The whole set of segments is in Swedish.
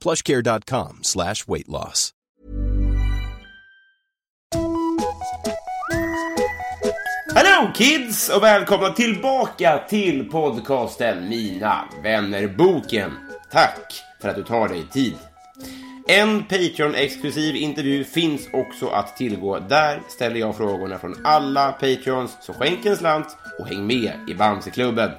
Plushcare.com slash weight loss. Hello kids och välkomna tillbaka till podcasten Mina vännerboken. Tack för att du tar dig tid. En Patreon-exklusiv intervju finns också att tillgå. Där ställer jag frågorna från alla Patreons, så skänk en slant och häng med i Bamseklubben.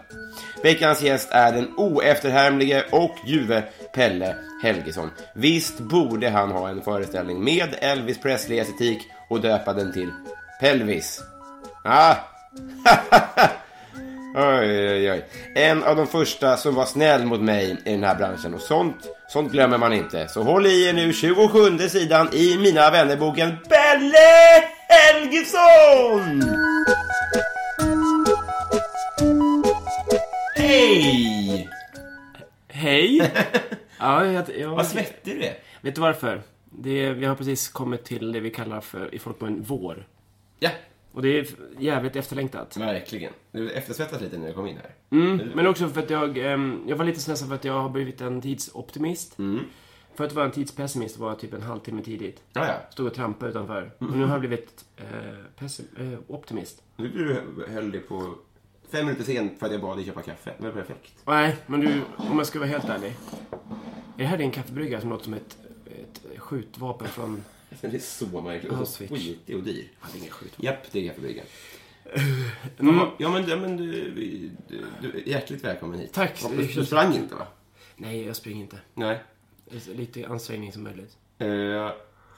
Veckans gäst är den oefterhärmlige och ljuve Pelle Helgesson. Visst borde han ha en föreställning med Elvis Presley-estetik och döpa den till Pelvis. Ah! oj, oj, oj. En av de första som var snäll mot mig i den här branschen och sånt, sånt glömmer man inte. Så håll i er nu, 27 sidan i Mina vännerboken Pelle Helgesson! Hej! Hej! Ja, jag, jag, Vad svettig du är. Vet du varför? Det, är- vi har precis kommit till det vi kallar för i folkmun vår. Ja, Och det är jävligt efterlängtat. verkligen. Du eftersvettas lite när du kom in här. Mm, men också för att jag, ehm, jag var lite stressad för att jag har blivit en tidsoptimist. Mm. Förut var jag en tidspessimist och var typ en halvtimme tidigt. Ja, Mm. ja. Stod och trampade utanför. Och nu har jag blivit eh, pessim, eh, optimist. Nu du höll dig på fem minuter sen för att jag bad dig köpa kaffe. Det var perfekt. Nej, men du, om jag ska vara helt ärlig. Är det här din kaffebrygga som låter som ett, ett skjutvapen från... Den är så märklig. Och så Auschwitz. skitig och dyr. Ja, det är ingen skjutvapen. Japp, det är kaffebryggan. Mm. Ja, men, ja, men du, du, du, är hjärtligt välkommen hit. Tack. Hoppas du sprang inte, va? Nej, jag springer inte. Nej. Alltså, Lite ansträngning som möjligt. Eh,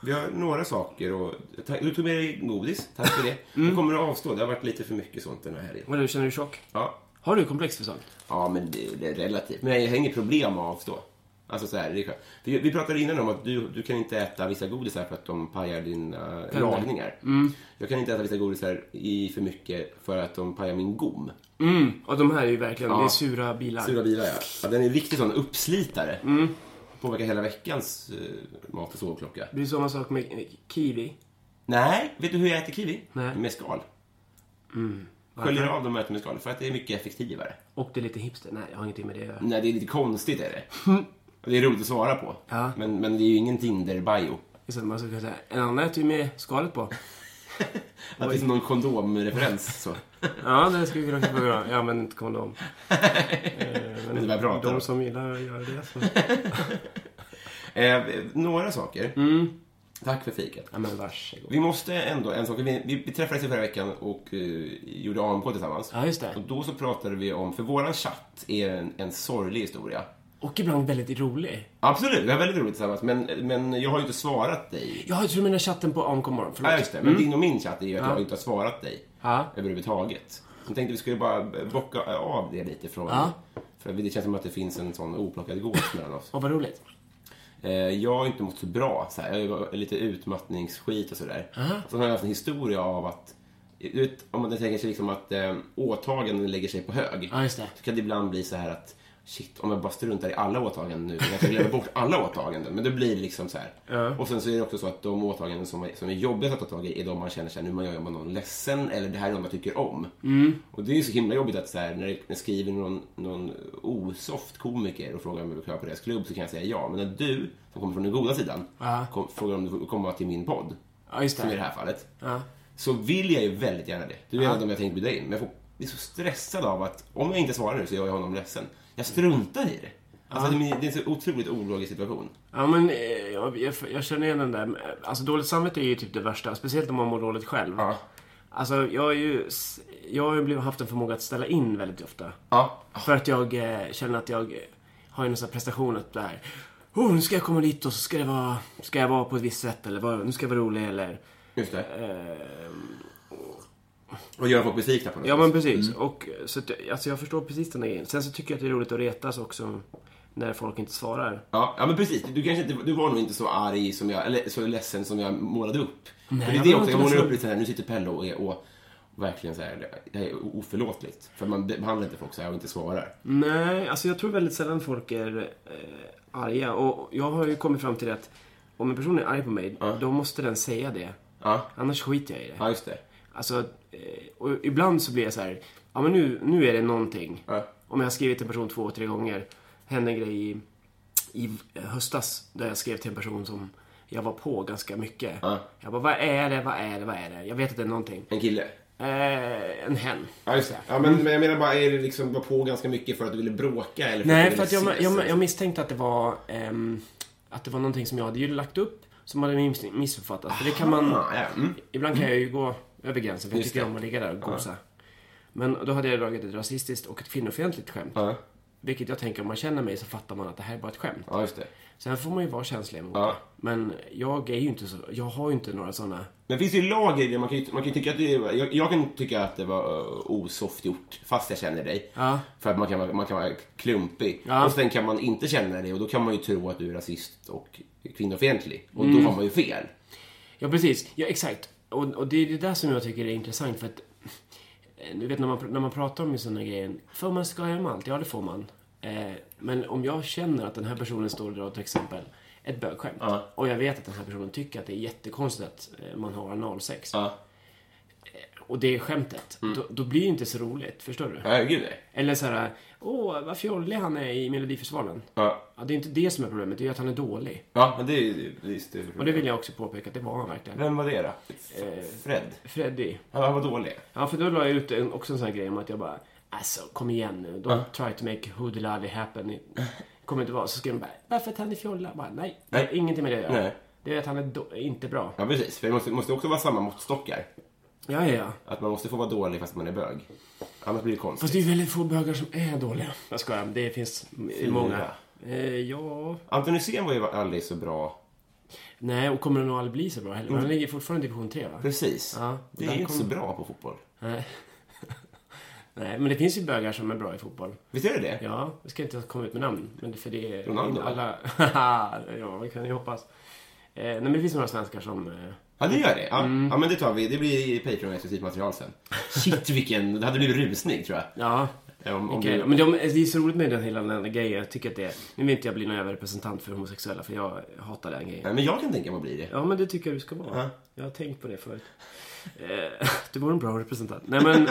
vi har några saker och... Tack, du tog med dig godis. Tack för det. Du kommer att avstå. Det har varit lite för mycket sånt den här helgen. Vadå, känner du tjock? Ja, Har du komplex för sånt? ja men det, det är relativt. Men jag har inget problem med att avstå. Alltså så här, det är skönt. Vi, vi pratade innan om att du, du kan inte äta vissa godisar för att de pajar dina lagningar. Jag kan inte äta vissa godisar i för mycket för att de pajar min gom. Mm, och de här är ju verkligen, Ja. det är sura bilar. Sura bilar, ja. ja. Den är en riktig sån uppslitare. Påverkar hela veckans eh, mat och sovklocka. Det är samma sak med eh, kiwi. Nej, vet du hur jag äter kiwi? Nej. Med skal. Mm. Sköljer av dem och äter med skal, för att det är mycket effektivare. Och det är lite hipster. Nej, jag har ingenting med det att göra. Nej, det är lite konstigt är det. Och det är roligt att svara på. Mm. Ja. Men, men det är ju ingen Tinder-bio. Just det, man ska kunna säga, en annan äter ju med skalet på. Att det är som någon kondomreferens. Så. Ja, det skulle vi kunna få göra. Jag använder inte kondom. Eh, Men det var bra. De som gillar att göra det så. Eh, några saker. Mm. Tack för fikat. Ja, men varsågod. Vi måste ändå, en sak, vi, vi, vi träffades i förra veckan och eh, gjorde AMK tillsammans. Ja, just Och det. då så pratade vi om, för våran chatt är en, en sorglig historia. Och ibland väldigt rolig. Absolut, vi har väldigt roligt tillsammans, men, men jag har ju inte svarat dig. Ja, Jag tror du menar chatten på AMK morgon. Förlåt. Ja, just det. Men din och min chatt är ju att jag inte har svarat dig Mm. Ja. överhuvudtaget. Jag tänkte vi skulle bara bocka av det lite från... Ja. För det känns som att det finns en sån oplockad gås mellan oss. Och vad roligt. Eh, Jag har inte mått så bra. Så här. Jag har ju lite utmattningsskit och sådär. Sen har jag haft en historia av att... Du vet, om man tänker sig liksom att eh, åtaganden lägger sig på hög. Ja, just det. Så kan det ibland bli så här att shit, om jag bara struntar i alla åtaganden nu så kanske jag glömmer bort alla åtaganden. Men då blir det liksom så här. Och sen så är det också så att de åtaganden som, som är jobbigast att ta tag i är de man känner så här, nu man gör man någon ledsen eller det här är någon man tycker om. Mm. Och det är ju så himla jobbigt att så här, när det skriver någon, någon osoft komiker och frågar om jag vill köra på deras klubb så kan jag säga ja. Men när du, som kommer från den goda sidan, Ja. kom, frågar om du får komma till min podd, Ja, just som i det det. här fallet, Ja. så vill jag ju väldigt gärna det. Du vet inte om jag tänkt bjuda in, men jag får, blir så stressad av att om jag inte svarar nu så gör jag honom ledsen. Jag struntar i det. Alltså, det, är, det är en så otroligt ologisk situation. Ja, men eh, jag, jag, jag känner igen den där. Alltså dåligt samvete är ju typ det värsta. Speciellt om man mår dåligt själv. Ja. Alltså jag har ju, s- jag har ju blivit, haft en förmåga att ställa in väldigt ofta. Ja. För att jag eh, känner att jag eh, har en sån här prestation att det här. Oh, nu ska jag komma dit och så ska det vara, ska jag vara på ett visst sätt eller vad, nu ska jag vara rolig eller. eh, Just det. Och göra folk besvikna på något Ja vis. men precis. Mm. Och, så att, jag- alltså jag förstår precis den där grejen. Sen så tycker jag att det är roligt att retas också när folk inte svarar. Ja, ja men precis. Du, kanske inte, du var nog inte så arg som jag, eller så ledsen som jag målade upp. Nej, det är jag det också, var jag inte målar ledsen. upp lite så här, nu sitter Pelle och är och, verkligen så här, det här är oförlåtligt. För man behandlar inte folk så här och inte svarar. Nej, alltså jag tror väldigt sällan folk är eh, arga. Och jag har ju kommit fram till att om en person är arg på mig, då måste den säga det. Ja, Annars skiter jag i det. ja just det. Alltså, eh, och ibland så blir jag så här, ja men nu, nu är det någonting. Ja. Om jag har skrivit till en person två, tre gånger. Hände en grej i, i eh, höstas där jag skrev till en person som jag var på ganska mycket. Ja. Jag bara, vad är det, vad är det, vad är det? Jag vet att det är någonting. En kille. Eh, en hen. Ja, just det. Ja, men, men jag menar bara, är det liksom bara på ganska mycket för att du ville bråka? Eller Nej, du för att ville jag, ses, jag, eller? jag misstänkte att det var ehm, att det var någonting som jag hade ju lagt upp som hade miss, missuppfattat. För det kan man... Ah, ja, mm. Ibland kan jag ju gå över gränsen för jag Just tycker det. om att ligga där och gosa. Men då hade jag dragit ett rasistiskt och ett kvinnofientligt skämt. ja. Vilket jag tänker, om man känner mig så fattar man att det här är bara ett skämt. ja, just det. Sen får man ju vara känslig mot Ja. det. Men jag är ju inte så... Jag har ju inte några sådana... Men finns det ju lager i det. Man kan ju, man kan ju tycka att det är, jag, jag kan tycka att det var eh, osoft gjort, fast jag känner dig. Ja. För att man kan, vara- man kan vara klumpig. Ja. Och sen kan man inte känna dig och då kan man ju tro att du är rasist och kvinnofientlig. Och Mm. då har man ju fel. Ja, precis. Ja, exakt. Och, och det är det där som jag tycker är intressant för att... eh, Du vet när man, pr- när man pratar om sådana grejer. Får man skoja om allt? Ja, det får man. Eh, men om jag känner att den här personen står och drar till exempel ett bögskämt. Ja. Och jag vet att den här personen tycker att det är jättekonstigt att eh, man har analsex. eh, Ja. Mm. Och det är skämtet. Då, då blir det inte så roligt, förstår du? Ja, gud nej. Eller så här, åh vad fjollig han är i Melodifestivalen. Ja. Ja, det är inte det som är problemet, det är att han är dålig. Ja, men det är ju... det är ju större. Och det Eh. vill jag också påpeka att det var han verkligen. Vem var det då? F- Fred? Freddy. Ja, han var dålig. Ja, för då la jag ut en, också en sån här grej om att jag bara, alltså kom igen nu. Don't try to make hoodilally happen. Det kommer inte vara. Så skrev de bara, varför att han är fjolla? Jag Bara, nej, det har Nej. ingenting med det att göra. Nej. Det är att han är då, inte bra. Ja, precis. För det måste, måste också vara samma måttstockar. Ja, ja, ja. Att man måste få vara dålig fast man är bög. Annars blir det konstigt. Fast det är ju väldigt få bögar som är dåliga. Jag skojar, det finns många. Eh, ja, Anton Hysén var ju aldrig så bra. nej, och kommer det nog aldrig bli så bra heller. Mm. Han ligger fortfarande i division 3 va? Precis. Ja, det där är ju inte kom- så bra på fotboll. Nej. Nej, men det finns ju bögar som är bra i fotboll. Visst är det det? Ja, jag ska inte komma ut med namn. Men det, för det är Ronaldo, va? alla... ja, vi kan ju hoppas. Eh, nej, men det finns några svenskar som... Eh, Ja, det gör det. Ja, Mm. ja men det tar vi. Det blir Patreon-exklusivt material sen. Shit, vilken... Det hade blivit rusning, tror jag. ja, Om, om okej. du... Men de, det är så roligt med den hela den där grejen. Jag tycker att det... Nu vill inte jag bli någon överrepresentant för homosexuella, för jag hatar den grejen. Nej, men jag kan tänka mig att bli det. Ja, men det tycker jag du ska vara. Ja. Jag har tänkt på det förut. Eh, du var en bra representant. Nej, men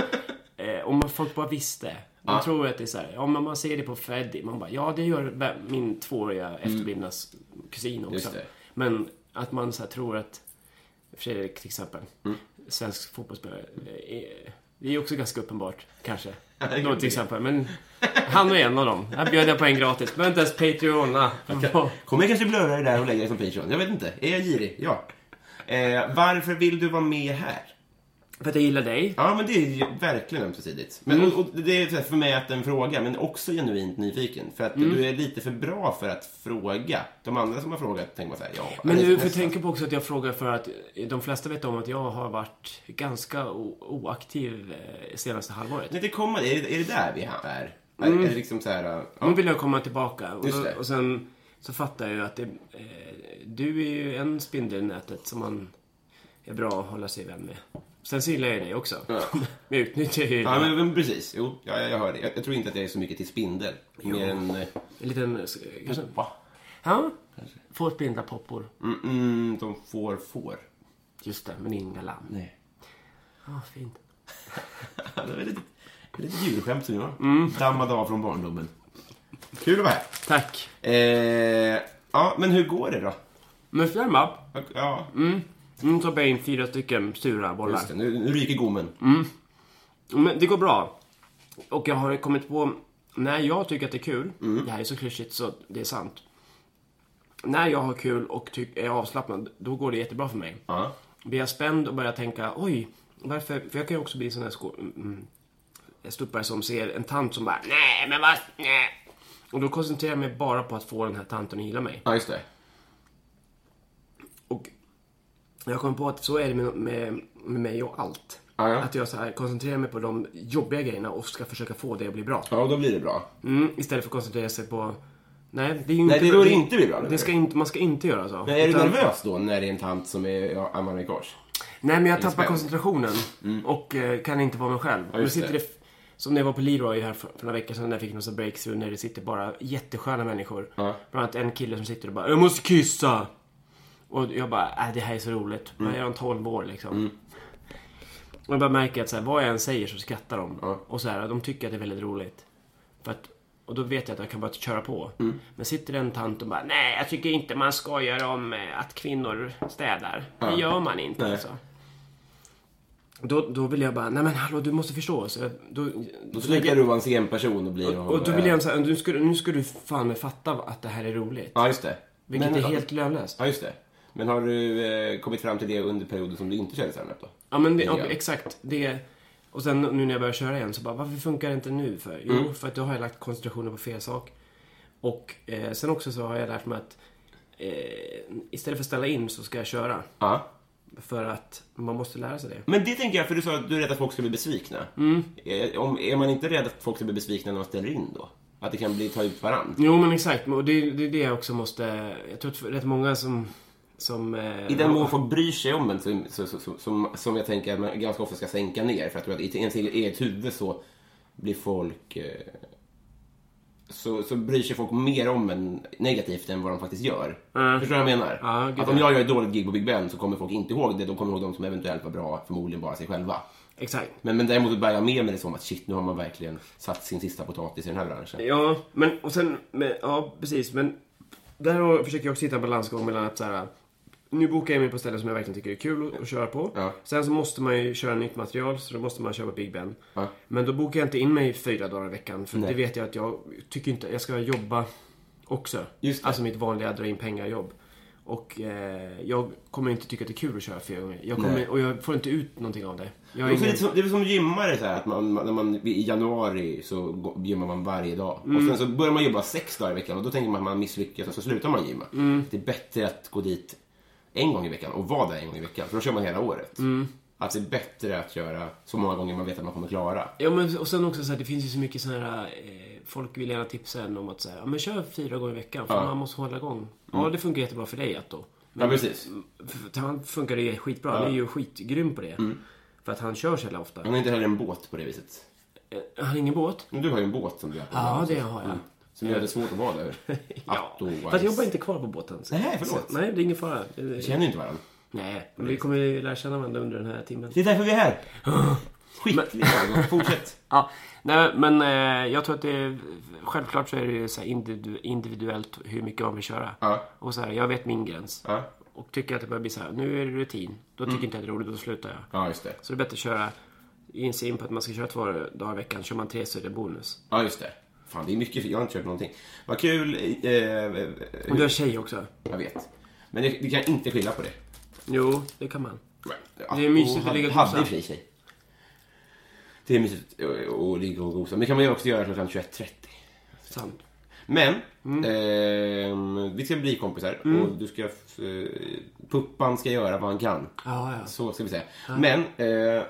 eh, om man- folk bara visste. Man tror att det är så här, ja men man ser det på Freddy. Man bara, ja det gör vem- min tvååriga efterblivnas kusin också. Mm. Just det. Men att man så här tror att Fredrik till exempel, Mm. svensk fotbollsspelare. eh, är- Det är ju också ganska uppenbart, kanske. Då till exempel. Men han är en av dem. Här bjöd jag på en gratis. Behöver inte ens Patreona. Kommer jag kanske blurra det där och lägga det som Patreon? Jag vet inte. Är jag girig? Ja. Eh, varför vill du vara med här? För att jag gillar dig. Ja, men det är ju verkligen ömsesidigt. Men och, och det är så här för mig att en fråga, men också genuint nyfiken. För att du är lite för bra för att fråga. De andra som har frågat tänker man säga ja. Men det är du får nästan. tänka på också att jag frågar för att de flesta vet om att jag har varit ganska o- oaktiv eh, senaste halvåret. Nej, det kommer. Är det, är det där vi är? Är det liksom så här... eh, Ja. Nu vill jag komma tillbaka och, Just då, det. och sen så fattar jag ju att det, eh, du är ju en spindel i nätet som man är bra att hålla sig vän med. Sen så gillar jag ju dig också. Men jag utnyttjar ju Ja, men, men precis. Jo, ja, jag, jag hör det. Jag, jag tror inte att jag är så mycket till spindel. Mer än... eh, en liten... eh, Kanske, Va? ja, får spindlar poppor. Mm, mm, de får får. Just det, men inga lamm. Nej. Ja, fint. det var lite, lite djurskämt som jag mm. dammade av från barndomen. Kul att vara här. Tack. Eh, ja, men hur går det då? Men fem up. Ja, Mm. Nu tar jag in fyra stycken sura bollar. just det. Mm. Nu, nu ryker gommen. Men det går bra. Och jag har kommit på när jag tycker att det är kul, Mm. det här är så klyschigt så det är sant. När jag har kul och tyck, är avslappnad, då går det jättebra för mig. Ja. Blir jag spänd och börjar tänka, oj, varför? För jag kan ju också bli en sån här sko- mm, ståuppare som ser en tant som bara, nej men vad, nej. Och då koncentrerar jag mig bara på att få den här tanten att gilla mig. Ja, just det. Och jag kom på att så är det med, med, med mig och allt. Ja, ja. Att jag så här koncentrerar mig på de jobbiga grejerna och ska försöka få det att bli bra. Ja, och då blir det bra. Mm, istället för att koncentrera sig på... Nej, det är ju inte... Nej, det bör inte bli bra, eller Det ska hur? inte, man ska inte göra så. Men är du Utan- nervös då när det är en tant som är ja, annan i kors? Nej, men jag tappar spänd? koncentrationen och eh, kan inte vara mig själv. Och då Mm. just sitter det. det. f- Som när jag var på Leroy här för, för några veckor sedan när jag fick någon sån breakthrough när det sitter bara jättesköna människor. Ja. Bland annat en kille som sitter och bara “Jag måste kissa!” Och jag bara äh, “Det här är så roligt”. Mm. Men jag är en 12 år liksom. Och jag bara märker att så här, vad jag än säger så skrattar de. Ja. Och så här, de tycker att det är väldigt roligt. För att, och då vet jag att jag kan bara köra på. Mm. Men sitter en tant och bara “Nej, jag tycker inte man skojar om eh, att kvinnor städar. Det gör man inte Nej. alltså. Då, då vill jag bara, nej men hallå du måste förstå. Så jag, då, Då slutar du vara en sen person och blir... och då vill jag säga, nu ska, du- nu ska du fan med fatta att det här är roligt. Ja, just det. Vilket Men- är helt lönlöst. Ja, just det. Men har du eh, kommit fram till det under perioden som du inte körde stand-up då? Ja men det, Ja. ja, exakt. Det, och sen nu när jag börjar köra igen så bara, varför funkar det inte nu för? Jo, Mm. för att då har jag lagt koncentrationen på fel sak. Och eh, sen också så har jag lärt mig att eh, istället för att ställa in så ska jag köra. Ja. För att man måste lära sig det. Men det tänker jag, för du sa att du är rädd att folk ska bli besvikna. Mm. Eh, Om, är man inte rädd att folk ska bli besvikna när man ställer in då? Att det kan bli ta ut varandra? Jo men exakt, och det, det är det jag också måste... Jag tror att för- rätt många som... som eh, I den mån folk bryr sig om en, så, så, så, så, som, som jag tänker att man ganska ofta ska sänka ner. För jag tror att i ens eget huvud så blir folk... eh, Så, så bryr sig folk mer om en negativt än vad de faktiskt gör. Mm. Förstår du vad jag menar? Ja, gud, att om ja. jag gör ett dåligt gig på Big Ben så kommer folk inte ihåg det. De kommer ihåg de som eventuellt var bra, förmodligen bara sig själva. Exakt. Men, men däremot bär jag med mig det som att shit, nu har man verkligen satt sin sista potatis i den här branschen. Ja, men och sen... Men, ja, precis. Men där har- försöker jag också hitta en balansgång mellan att så här, Nu bokar jag mig på ställen som jag verkligen tycker är kul att, att köra på. Ja. Sen så måste man ju köra nytt material, så då måste man köpa Big Ben. Ja. Men då bokar jag inte in mig fyra dagar i veckan, för Nej. det vet jag att jag tycker inte... Jag ska jobba också. Just det. Alltså mitt vanliga dra in pengar-jobb. Och eh, jag kommer inte tycka att det är kul att köra fyra gånger. Jag Nej. kommer, och jag får inte ut någonting av det. Jag har Det är, också ingen- lite som, det är väl som gymmare så här, att man, man, när man, i januari så gå- gymmar man varje dag. Och sen så börjar man jobba sex dagar i veckan och då tänker man att man misslyckas och så slutar man gymma. Det är bättre att gå dit en gång i veckan och vara där en gång i veckan för då kör man hela året. Att det är bättre att göra så många gånger man vet att man kommer klara. Ja, men och sen också så här, det finns ju så mycket så här, eh, folk vill gärna tipsa en om att säga, ja men kör fyra gånger i veckan för Ja. Mm. man måste hålla igång. Ja, det funkar jättebra för dig att då. Ja, precis. För han funkar det skitbra, han är ju skitgrym på det. Mm. För att han kör så jävla ofta. Man har inte heller en båt på det viset. Eh, Han har ingen båt? Men du har ju en båt som du har på Ja, det har jag. Mm. Som gör det svårt att vara där. Ja. Otherwise. Fast jag jobbar inte kvar på båten. Så. Nej, förlåt. Nej, det är ingen fara. Det- Vi känner ju inte varandra. Nej, men vi kommer ju lära känna varandra under den här timmen. Det är därför vi är här. Skicklig ögon. Fortsätt. Ja, nej, men eh, jag tror att det är, självklart så är det ju så här individu- individuellt hur mycket man vill köra. Ja. Och så här, jag vet min gräns. Ja. Mm. Och tycker att det börjar bli så här, nu är det rutin. Då tycker inte jag det är roligt, då slutar jag. Ja, just det. Så det är bättre att köra, inse in på att man ska köra två dagar i veckan. Kör man tre så är det bonus. Ja, just det. Fan, det är mycket. Jag har inte kört någonting. Vad kul. Eh, eh, eh, Och du har tjej också. jag vet. Men det, vi kan inte skilja på det. Jo, det kan man. Ja, Det är mysigt och att ligga och hade- gosa. Hade i och för sig tjej. Det är mysigt att- att ligga och gosa. Men det kan man ju också göra klockan 21.30. Sant. Men, Mm. ehm, vi ska bli kompisar och du ska... Eh, puppan ska göra vad han kan. Ja, ja. Så ska vi säga. Men, eh,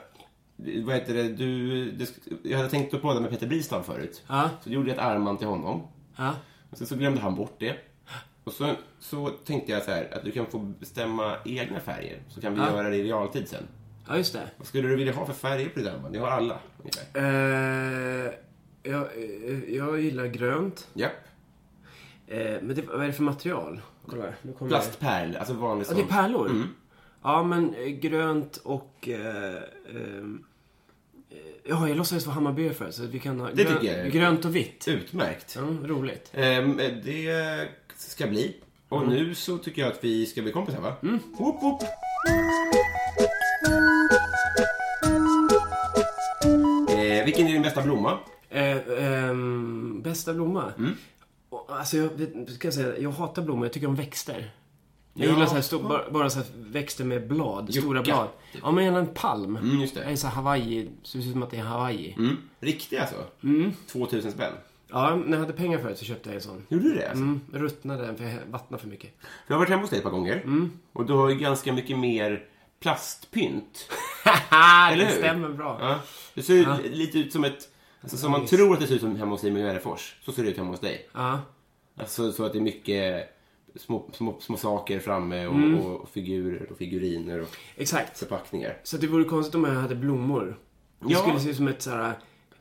vad heter det, du, det, sk- jag hade tänkt att podda med Peter Bristav förut. Ja. Så gjorde jag ett armband till honom. Ja, Och sen så glömde han bort det. Och så, så tänkte jag så här, att du kan få bestämma egna färger. Så kan vi Ja. göra det i realtid sen. ja just det. Vad skulle du vilja ha för färger på ditt armband? Jag har alla. ungefär. Eh, jag, eh, jag gillar grönt. Japp. Eh, men det, vad är det för material? Kolla här. Nu kommer det. Plastpärl, alltså vanlig Ja, sån. det är pärlor? Mm. Ja, men eh, grönt och... Eh, ehm, eh, ja, jag låtsades vara Hammarby för så att vi kan ha Det tycker jag är- grönt och vitt. Utmärkt. Mm, roligt. Ehm, det ska bli. Och Mm. nu så tycker jag att vi ska bli kompisar va? Mm. Whoop, whoop. Eh, vilken är din bästa blomma? Eh, ehm, nästa blomma. Mm. Och, Alltså jag, vet- ska jag, säga, jag hatar blommor, jag tycker om växter. Jag Ja. gillar så här, stor, bara, bara så här växter med blad, stora Yucca, blad. typ. Ja, men gärna en palm. Mm, just det. är så här Hawaii, så det ser ut som att det är Hawaii. Mm. Riktiga alltså? Mm. 2000 spänn. Ja, när jag hade pengar förut så köpte jag en sån. Gjorde du det? Alltså? Mm, ruttnade den för jag vattnade för mycket. För jag har varit hemma hos dig ett par gånger. Mm. Och du har ju ganska mycket mer plastpynt. Eller Eller det hur? stämmer bra. Ja. Det ser ju lite ut som ett... Alltså som man Nice. tror att det ser ut som hemma hos dig med Järfors. Så ser det ut hemma hos dig. Ja. Alltså så att det är mycket små, små, små saker framme och, Mm. och figurer och figuriner och Exakt. förpackningar. Så det vore konstigt om jag hade blommor. Det Ja. skulle se ut som ett såhär...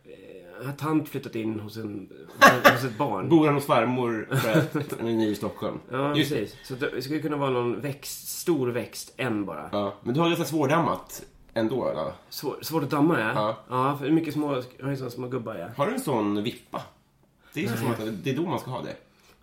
eh, Har tant flyttat in hos, en, hos- hos ett barn? Bor han hos farmor för att han är ny i Stockholm? Ja, Just det. precis. Så det skulle kunna vara någon växt, stor växt, en bara. Ja. Men du har ganska svårdammat ändå. Eller? Svår, svårt att damma, ja. Ja. Ja, för det är mycket små, jag har ju såna små gubbar, ja. Har du en sån vippa? Det är, så som att det är då man ska ha det.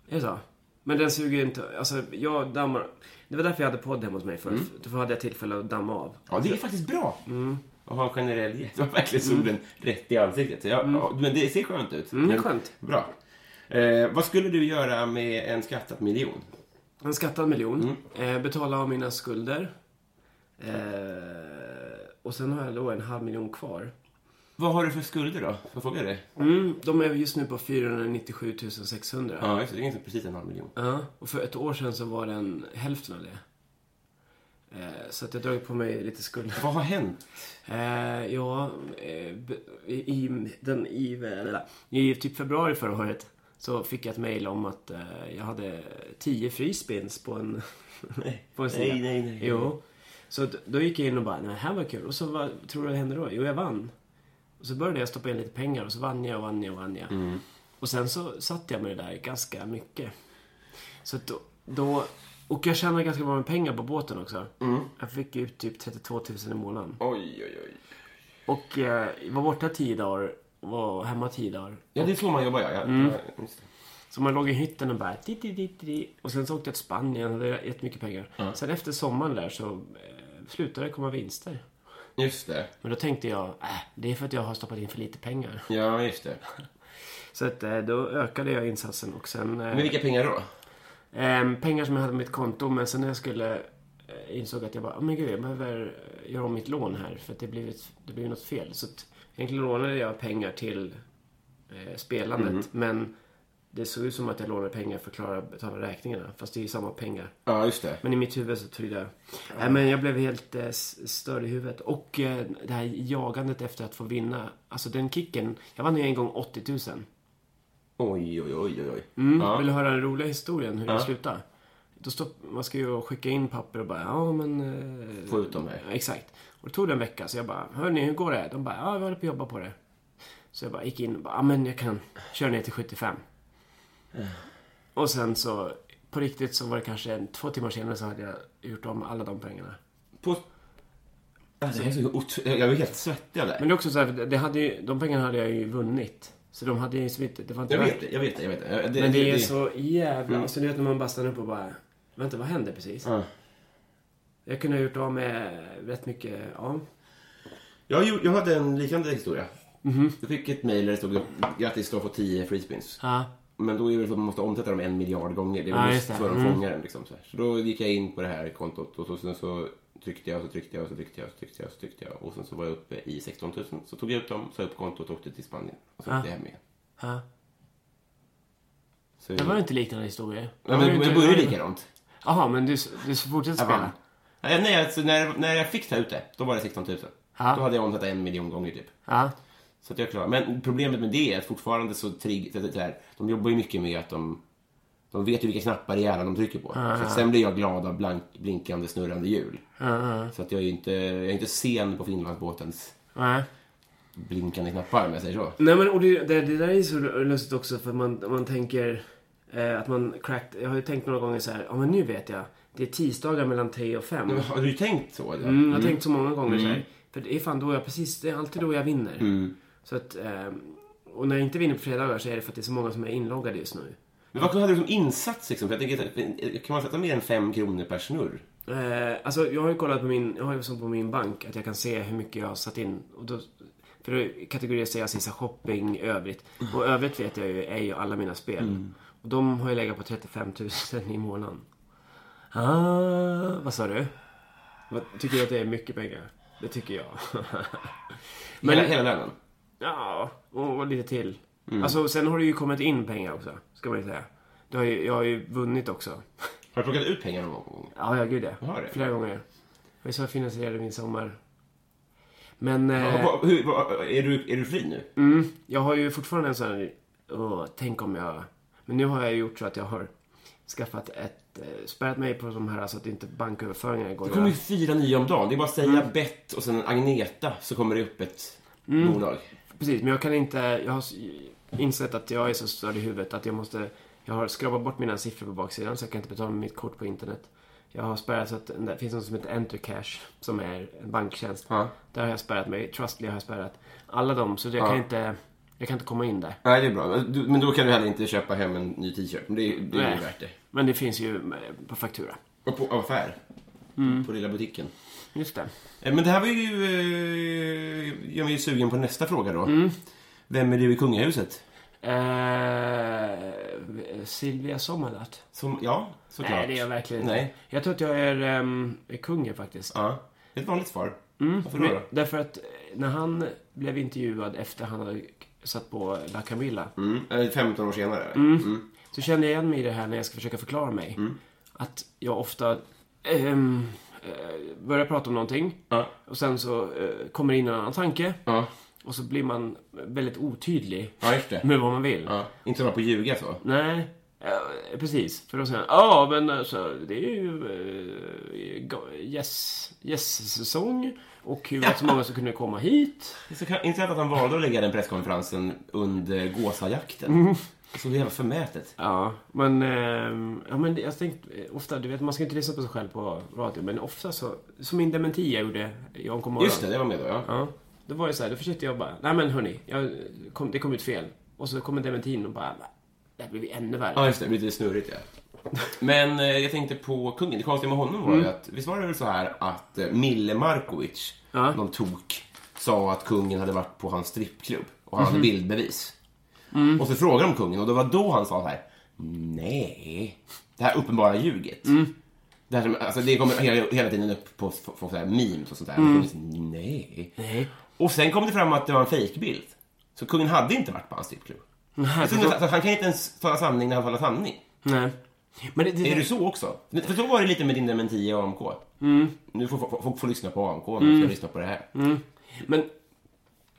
Är det så? Men den suger ju inte, alltså jag dammar. Det var därför jag hade podd hemma hos mig förut. Mm. Då hade jag tillfälle att damma av. Ja, det är faktiskt bra. Mm. Att ha en generell gäst. Du har verkligen solen rätt i ansiktet. Så jag, ja, men det ser skönt ut. Mm, det är skönt. Bra. Eh, vad skulle du göra med en skattad miljon? En skattad miljon. Mm. Eh, betala av mina skulder. Eh, och sen har jag då en halv miljon kvar. Vad har du för skulder då? Får jag fråga dig? Mm, de är just nu på 497 600. Ja. Ja, just det. Det är ganska precis en halv miljon. och för ett år sedan så var den hälften av det. Eh, så att jag har dragit på mig lite skulder. Vad har hänt? Eh, ja, eh, b- i, i- den, i, eller, i typ februari förra året så fick jag ett mejl om att eh, jag hade 10 frispins på en, på en sida. Nej, nej, nej. Jo. Så d- då gick jag in och bara, nej det här var kul. Och så vad tror du hände då? Jo, jag vann. Och så började jag stoppa in lite pengar och så vann jag och vann jag och vann jag. Mm. Och sen så satt jag med det där ganska mycket. Så att då, då, och jag tjänade ganska bra med pengar på båten också. Mm. Jag fick ut typ 32 000 i månaden. Oj, oj, oj. Och eh, var borta tio dagar och var hemma tio dagar. Ja, det är så man jobbar, ja. ja. Mm. Just det. Så man låg i hytten och bara... Di, di, di, di. Och sen så åkte jag till Spanien och hade jättemycket pengar. Sen efter sommaren där så eh, slutade det komma vinster. Just det. Men då tänkte jag, äh, det är för att jag har stoppat in för lite pengar. Ja, just det. Så att, eh, då ökade jag insatsen och sen... Eh, Men vilka pengar då? ehm, pengar som jag hade på mitt konto, men sen när jag skulle... eh, Insåg att jag bara, "Åh, men gud, jag behöver eh, göra om mitt lån här för att det blev, ett, det blev något fel. Så att, egentligen lånade jag pengar till eh, spelandet, men det såg ut som att jag lånade pengar för att klara betala räkningarna. Fast det är ju samma pengar. Ja, just det. Men i mitt huvud så trodde jag... Nej, men jag blev helt eh, s- störd i huvudet. Och eh, det här jagandet efter att få vinna. Alltså den kicken. Jag vann ju en gång 80 000. Oj, oj, oj, oj, oj. Mm. Vill du höra den roliga historien hur det slutade? Då stopp, man ska ju skicka in papper och bara, ja men... Eh, Få ut dem här. Ja, Exakt. Och det tog det en vecka, så jag bara, hörni, hur går det? De bara, ja, vi håller på att jobba på det. Så jag bara gick in och bara, ja men jag kan köra ner till 75. Eh. Och sen så, på riktigt så var det kanske en, två timmar senare så hade jag gjort om alla de pengarna. På... Alltså, det är så otro... Jag blir helt svettig av det Men här. det är också så här, för det hade ju, de pengarna hade jag ju vunnit. Så de hade ju liksom inte, det var inte Jag värt vet det, jag vet det. Jag vet det. Jag- Men det är så jävla... Alltså du vet när man bara stannar upp och bara... Vänta, vad hände precis? Ja. Jag kunde ha gjort av med rätt mycket... Ja. Jag, gjorde- jag hade en liknande historia. Jag fick ett mejl där det stod grattis, du har fått 10 free spins. Ja. Men då är det så att man måste omsätta dem en miljard gånger. Det är Ja, väl just just det. för att Mm. fånga den. Liksom, så, här. så då gick jag in på det här kontot och så, sen så tryckte jag och så tryckte jag och så tryckte jag och så tryckte jag och så tryckte jag. Och sen så var jag uppe i 16 000. Så tog jag ut dem, sa upp kontot och åkte till Spanien. Och så åkte jag hem igen. ja. Så, Det var ju inte liknande historier. Nej, men det började likadant. Jaha, men du, du fortsätter Jag vann. spela? Nej, nej, alltså, när, när jag fick ta ut det, då var det 16 000. Ja. Då hade jag omsatt en miljon gånger typ. Ja. Så att jag klarar. Men problemet med det är att fortfarande så trigg, så att det här, de jobbar ju mycket med att de, de vet ju vilka knappar i hjärnan de trycker på. Ah. Så att sen blir jag glad av blank, blinkande, snurrande hjul. Ah. Så att jag är ju inte, jag är inte sen på Finlandsbåtens Nej. blinkande knappar om jag säger så. Nej men och det, det, det där är ju så lustigt också för man, man tänker eh, att man cracked. Jag har ju tänkt några gånger så här, ja men nu vet jag. Det är tisdagar mellan 3 och 5. Men har du tänkt så? Eller? Mm, jag har tänkt så många gånger så Mm. här. För det är fan då jag precis, det är alltid då jag vinner. Så att, ehm, och när jag inte vinner på fredagar så är det för att det är så många som är inloggade just nu. Men vad hade du som insats? Liksom? För jag tänker, att- kan man sätta mer än fem kronor per snurr? Eh, alltså jag har ju kollat på min, jag har ju som på min bank att jag kan se hur mycket jag har satt in. Och då, För då kategoriserar jag alltså sista shopping, övrigt. Och övrigt vet jag ju är ju alla mina spel. Mm. Och de har ju legat på 35 000 i månaden. Ah, vad sa du? Vad, tycker du att det är mycket pengar? Det tycker jag. Men hela, hela lönen? Ja, och, och lite till. Mm. Alltså, sen har det ju kommit in pengar också, ska man ju säga. Du har ju, jag har ju vunnit också. Har du plockat ut pengar någon gång? Ja, ja gud ja. Har det? Flera gånger. Det var så jag finansierade min sommar. Men eh, Vad- hur, vad- är, du, är du fri nu? mm, jag har ju fortfarande en sån här, åh, tänk om jag... Men nu har jag gjort så att jag har skaffat ett, eh, spärrat mig på de här så att inte banköverföringarna går Det kommer ju över. fyra nya om dagen. Det är bara att säga bett och sen Agneta så kommer det upp ett bolag. Precis, men jag kan inte, jag har s- insett att jag är så störd i huvudet att jag måste, jag har skrapat bort mina siffror på baksidan så jag kan inte betala med mitt kort på internet. Jag har spärrat så att det finns något som heter Entercash som är en banktjänst. Ja. Där har jag spärrat mig, Trustly har jag spärrat. Alla dem, så jag kan inte, jag kan inte komma in där. Nej, det är bra. Men du- Men då kan du heller inte köpa hem en ny t-shirt. Men det, det är Nej. ju värt det. Men det finns ju eh, på faktura. Och på affär. På lilla butiken. Just det. Eh, Men det här var ju... Eh, gör mig ju sugen på nästa fråga då. Vem är du i kungahuset? Eh, Silvia Sommerlath. Som, ja, såklart. Nej, det är jag verkligen inte. Nej. Jag tror att jag är ehm, kungen faktiskt. Ja. Ett vanligt svar. Varför då? Men, då? därför att eh, när han blev intervjuad efter han hade satt på La Camilla Mm. eh, 15 år senare. så kände jag igen mig i det här när jag ska försöka förklara mig. Mm. Att jag ofta ehm, eh, börjar prata om någonting Ja. och sen så eh, kommer det in en annan tanke Ja. och så blir man väldigt otydlig ja, just det. med vad man vill. Ja. Inte bara på att ljuga så. Nej, eh, precis. För då säger han, ja men alltså det är ju eh, ga- gäss- gästsäsong och hur så många som kunde komma hit. Det är så kan- intressant att han valde att lägga den presskonferensen under gåsajakten. Så jävla förmätet. Ja, men, ehm, ja, men det- jag tänkte eh, ofta, du vet man ska inte lyssna på sig själv på radio, men ofta så, som min dementi jag gjorde i Omkom morgon. Just det, det var med då ja. Ja, då var det så här, då försökte jag bara, nej men hörni, jag kom, det kom ut fel. Och så kommer dementin och bara, det här blev ju ännu värre. Ja, just det. Det blir lite snurrigt ja. Men eh, jag tänkte på kungen. Det konstiga med honom Mm. var ju att, visst var det väl så här att eh, Mille Markovic, Ja. någon tok, sa att kungen hade varit på hans strippklubb och han Mhm. hade bildbevis. Mm. Och så frågade de kungen och det var då han sa så här, nej, det här uppenbara ljuget. Mm. Det, här som, alltså, det kommer hela, hela tiden upp på, på, på så här memes och sånt där. Och kungen, nej. Mm. Nej. Och sen kom det fram att det var en fejkbild. Så kungen hade inte varit på hans strippklubb. Nej, Alltså, Så förstå- så Han kan inte ens tala sanning när han talar sanning. nej. Men det, det, Är du så också? För så var det lite med din dementi i AMK. Mm. Nu får folk får, får lyssna på AMK, men ska lyssna på det här. Men,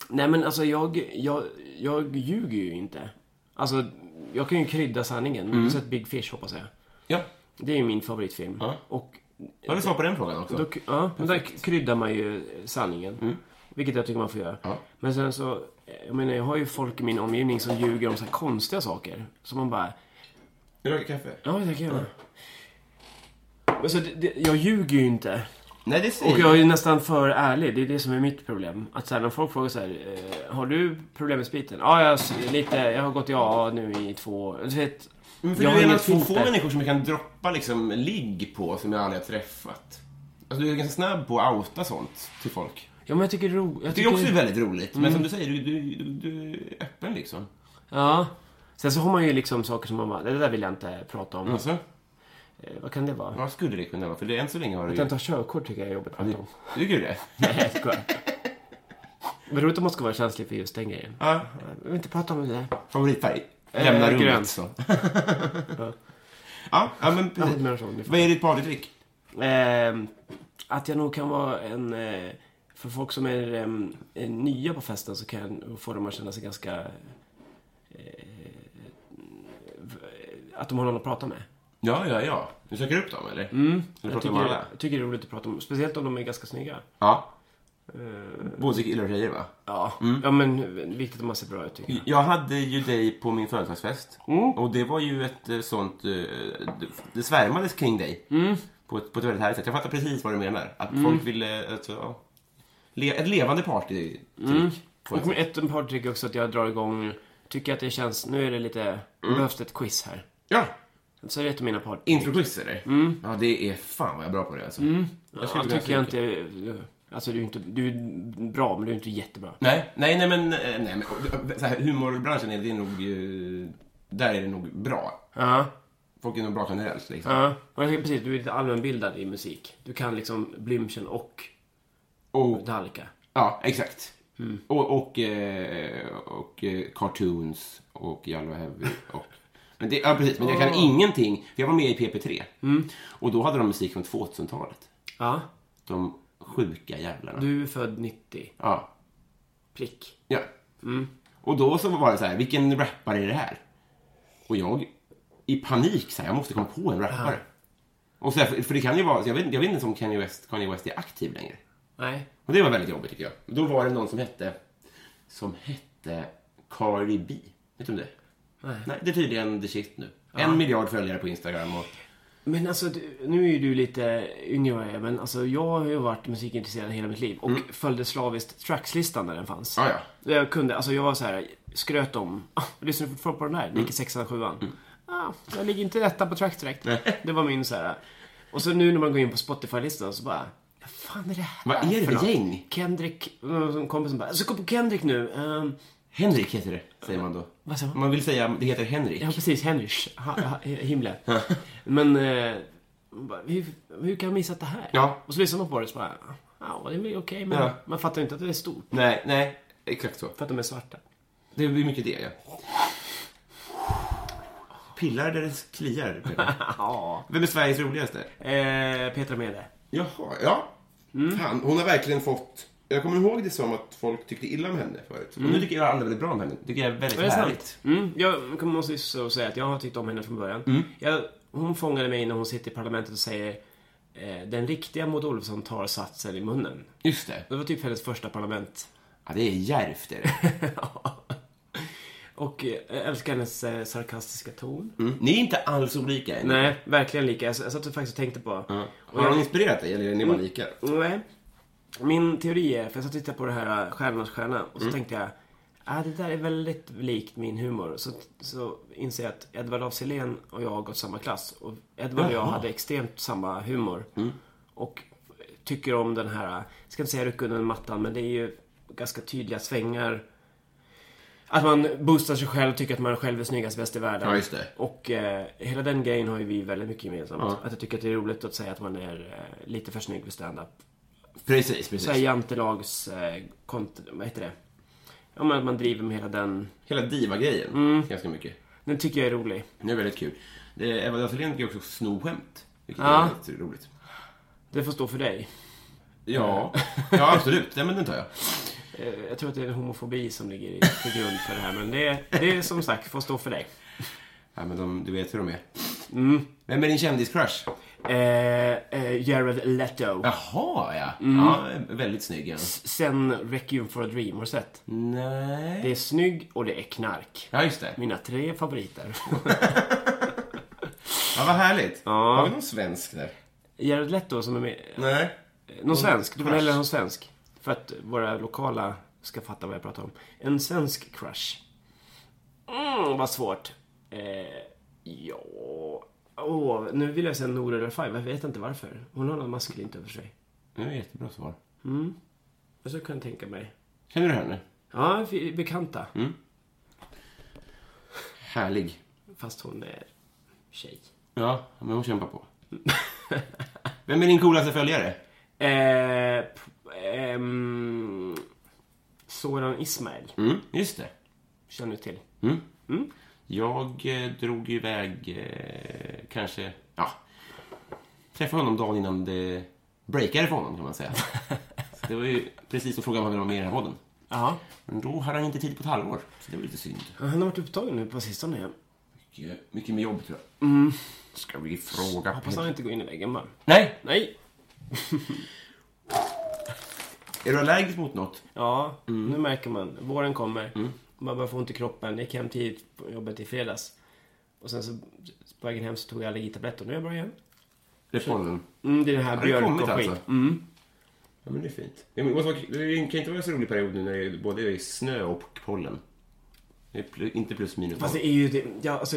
nej men alltså jag, jag, jag ljuger ju inte. Alltså, jag kan ju krydda sanningen. Mm. Du har sett Big Fish hoppas jag. Ja, Det är ju min favoritfilm. Ja. Och då har vi svar på den frågan också. Då, k- ja, men där kryddar man ju sanningen. Vilket jag tycker man får göra. Ja. Men sen så, eh, jag menar jag har ju folk i min omgivning som ljuger om så här konstiga saker. Som man bara, Vill du ha kaffe? ja det kan jag göra. Men så det, det, jag ljuger ju inte. Nej, det Och säger jag är ju nästan för ärlig, det är det som är mitt problem. Att så här, när folk frågar så här, eh, har du problem med spriten? Ja, jag, s- lite, jag har gått i AA nu i två år. Du vet, Men för jag du är alltså en av inget få, få fotfäste. människor som jag kan droppa liksom ligg på som jag aldrig har träffat. Alltså, du är ganska snabb på att outa sånt till folk. Ja, men jag tycker det är roligt. Jag Det är tycker- Mm. också väldigt roligt, men som du säger, du, du, du, du är öppen liksom. Ja. Sen så har man ju liksom saker som man bara, det där vill jag inte prata om. Alltså, Eh, vad kan det vara? vad skulle det kunna vara? För det, än så länge har du Att jag inte har körkort tycker jag är jobbigt att prata om. Tycker du det? Nej, jag skojar. Men roligt om man ska vara känslig för just den grejen. Ja. Jag vill inte prata om det där. Favoritfärg? Eh, Lämna rummet. grön. Så. ja, ja, men Jag precis. håller med dig om det. Vad är ditt partydryck? Ehm, att jag nog kan vara en... eh, För folk som är ehm, är nya på festen så kan jag få dem att känna sig ganska... eh, v- Att de har någon att prata med. Ja, ja, ja. Du söker upp dem, eller? Eller Jag pratar om tycker, alla? jag tycker det är roligt att prata om. Speciellt om de är ganska snygga. Ja. Både killar och tjejer, va? Ja, ja Mm. men viktigt att man ser bra ut tycker jag. Jag hade ju dig på min födelsedagsfest. Och det var ju ett eh, sånt... eh, det- Det svärmades kring dig. På, ett, på ett väldigt härligt sätt. Jag fattar precis vad du menar. Att folk ville... Alltså, ja. Le, ett levande typ, partydryck. får jag Och säga. ett par tycker också att jag drar igång, tycker att det känns, nu är det lite, Mm. behövs det ett quiz här. Ja! Mm. Så är det ett av mina par. Introquiz, eller? Ja, det är... Fan vad jag är bra på det, alltså. Ja, skulle vilja tycker jag ha inte, Alltså du är inte, du är bra, men du är inte jättebra. Nej, nej, nej men, eh, nej, men och, så här, humorbranschen är det är nog, eh, där är det nog bra. Ja, Folk är nog bra generellt liksom. ja. Och jag tänker precis, du är lite allmänbildad i musik. Du kan liksom Blümchen och Och, Metallica. ja, exakt. Och, och, eh, och eh, cartoons och Yellow Heavy och... Men det, ja, precis. Men jag kan ingenting. För jag var med i PP3. Och då hade de musik från 2000-talet. Ja, De sjuka jävlarna. du är född 90. Ja. Prick. Ja. Mm. Och då så var det så här, vilken rappare är det här? Och jag i panik så här, jag måste komma på en rappare. Och så här, för, för det kan ju vara, så jag vet, jag vet inte ens om Kanye West, Kanye West är aktiv längre. Nej. Och det var väldigt jobbigt tycker jag. Då var det någon som hette, som hette Cardi B. Vet du om det Nej. Nej, det är tydligen the shit nu. En miljard följare på Instagram och... Men alltså, du- nu är ju du lite yngre än vad jag är, men alltså jag har ju varit musikintresserad hela mitt liv och följde slaviskt trackslistan när den fanns. Mm. Ah, Ja, ja. Jag kunde, alltså jag var så här, skröt om, ah, jag lyssnar fortfarande på den där, Mm. ligger sexan, sjuan. Ah, jag ligger inte etta på track direkt. Det var min så här. Och så nu när man går in på Spotify-listan så bara, vad fan är det här Vad är det för något?" gäng? Kendrick, någon kompis som bara, alltså gå på Kendrick nu. Ehm, Henrik heter det, säger man då. vad sa man? Man vill säga, det heter Henrik. Ja, precis. Henrys ha- ha- himla. Men eh, bara, hur, hur kan jag missa det här? Ja. Och så lyssnar man på det och så bara, "Ah, ja, det är väl okej, men Ja. man fattar ju inte att det är stort. Nej, nej. Exakt så. För att de är svarta. Det blir mycket det, ja. Pillar där det kliar, Peter. Ja. Vem är Sveriges roligaste? Eh, Petra Mede. Jaha, ja. Fan, hon har verkligen fått... Jag kommer ihåg det som att folk tyckte illa om henne förut. Och nu tycker jag alla väldigt bra om henne. tycker jag Mm. är väldigt Är det härligt. sant? Mm, jag kommer- måste ju så säga att jag har tyckt om henne från början. Jag, hon fångade mig när hon sitter i parlamentet och säger eh, den riktiga Maud Olofsson tar satsen i munnen. Just det. Det var typ hennes första parlament. Ja, det är djärvt, det är det. Och eh, jag älskar hennes eh, sarkastiska ton. Mm. Ni är inte alls olika än. Nej, verkligen lika. Jag, s- jag satt och faktiskt och tänkte på. Ja. Har hon inspirerat dig, eller är ni bara lika? Nej. Min teori är, för jag satt och tittade på det här äh, Stjärnornas stjärna och så Mm. tänkte jag Ah, det där är väldigt likt min humor. Så, så inser jag att Edvard af Sillén och jag har gått samma klass. Och Edvard och jag hade extremt samma humor. Mm. Och tycker om den här, jag ska inte säga ryck under mattan, men det är ju ganska tydliga svängar. Att man boostar sig själv, tycker att man själv är snyggast, bäst i världen. Ja, just det. Och eh, hela den grejen har ju vi väldigt mycket gemensamt. Att jag tycker att det är roligt att säga att man är eh, lite för snygg för stand-up. Precis, Så här precis. jantelags... Eh, kont- vad heter det? Ja, men att man driver med hela den. Hela diva-grejen, ganska mycket. Den tycker jag är rolig. Det är väldigt kul. Det- Eva Dahlén tycker också sno skämt. Vilket Ja. är väldigt roligt. Det får stå för dig. Ja, Eh, ja absolut. Nej, men den tar jag. Eh, jag tror att det är en homofobi som ligger i- till grund för det här. Men det, det är som sagt, får stå för dig. Ja, men de, du vet hur de är. Vem är din kändiscrush? Eh, eh, Jared Leto. Jaha, ja. ja Mm. väldigt snygg. Ja. Sen Requiem for a Dream, har du sett? Nej. Det är snygg och det är knark. Ja, just det. Mina tre favoriter. Ja, vad härligt. Har vi någon svensk där? Jared Leto som är med. Nej. Någon svensk? Du får crush. hellre någon svensk. För att våra lokala ska fatta vad jag pratar om. En svensk crush. Mm, vad svårt. Eh, ja... Åh, nu vill jag säga Noora Refai. Jag vet inte varför. Hon har något maskulint över sig. Det var ett jättebra svar. Men så kan jag tänka mig. Känner du henne? Ja, vi är bekanta. Härlig. Fast hon är tjej. Ja, men hon kämpar på. Vem är din coolaste följare? Eh, p- ehm, Soran Ismail. Mm, just det. Känner du till? Jag eh, drog ju iväg eh, kanske... Ja. Träffade honom dagen innan det breakade för honom, kan man säga. Så det var ju precis att fråga om han ville vara med i den här podden. Ja. Men då hade han inte tid på ett halvår, så det var lite synd. Han har varit upptagen nu på sistone. igen. Mycket, mycket med jobb, tror jag. Mm. Ska vi fråga Hoppas han inte går in i väggen bara. Nej! Nej! Är du allergisk mot något? Ja, Mm. nu märker man. Våren kommer. Man bara får ont i kroppen. Jag gick hem tidigt på jobbet i fredags. Och sen så på vägen hem så tog jag allergitabletter. Nu är jag bra igen. Det är pollen. Mm, det är den här Har det björk kommit och skit. alltså? Ja, men det är fint. Det måste vara- det kan inte vara en så rolig period nu när det är både snö och pollen. Det är pl- inte plus minus. Fast det är ju... Det, ja, alltså,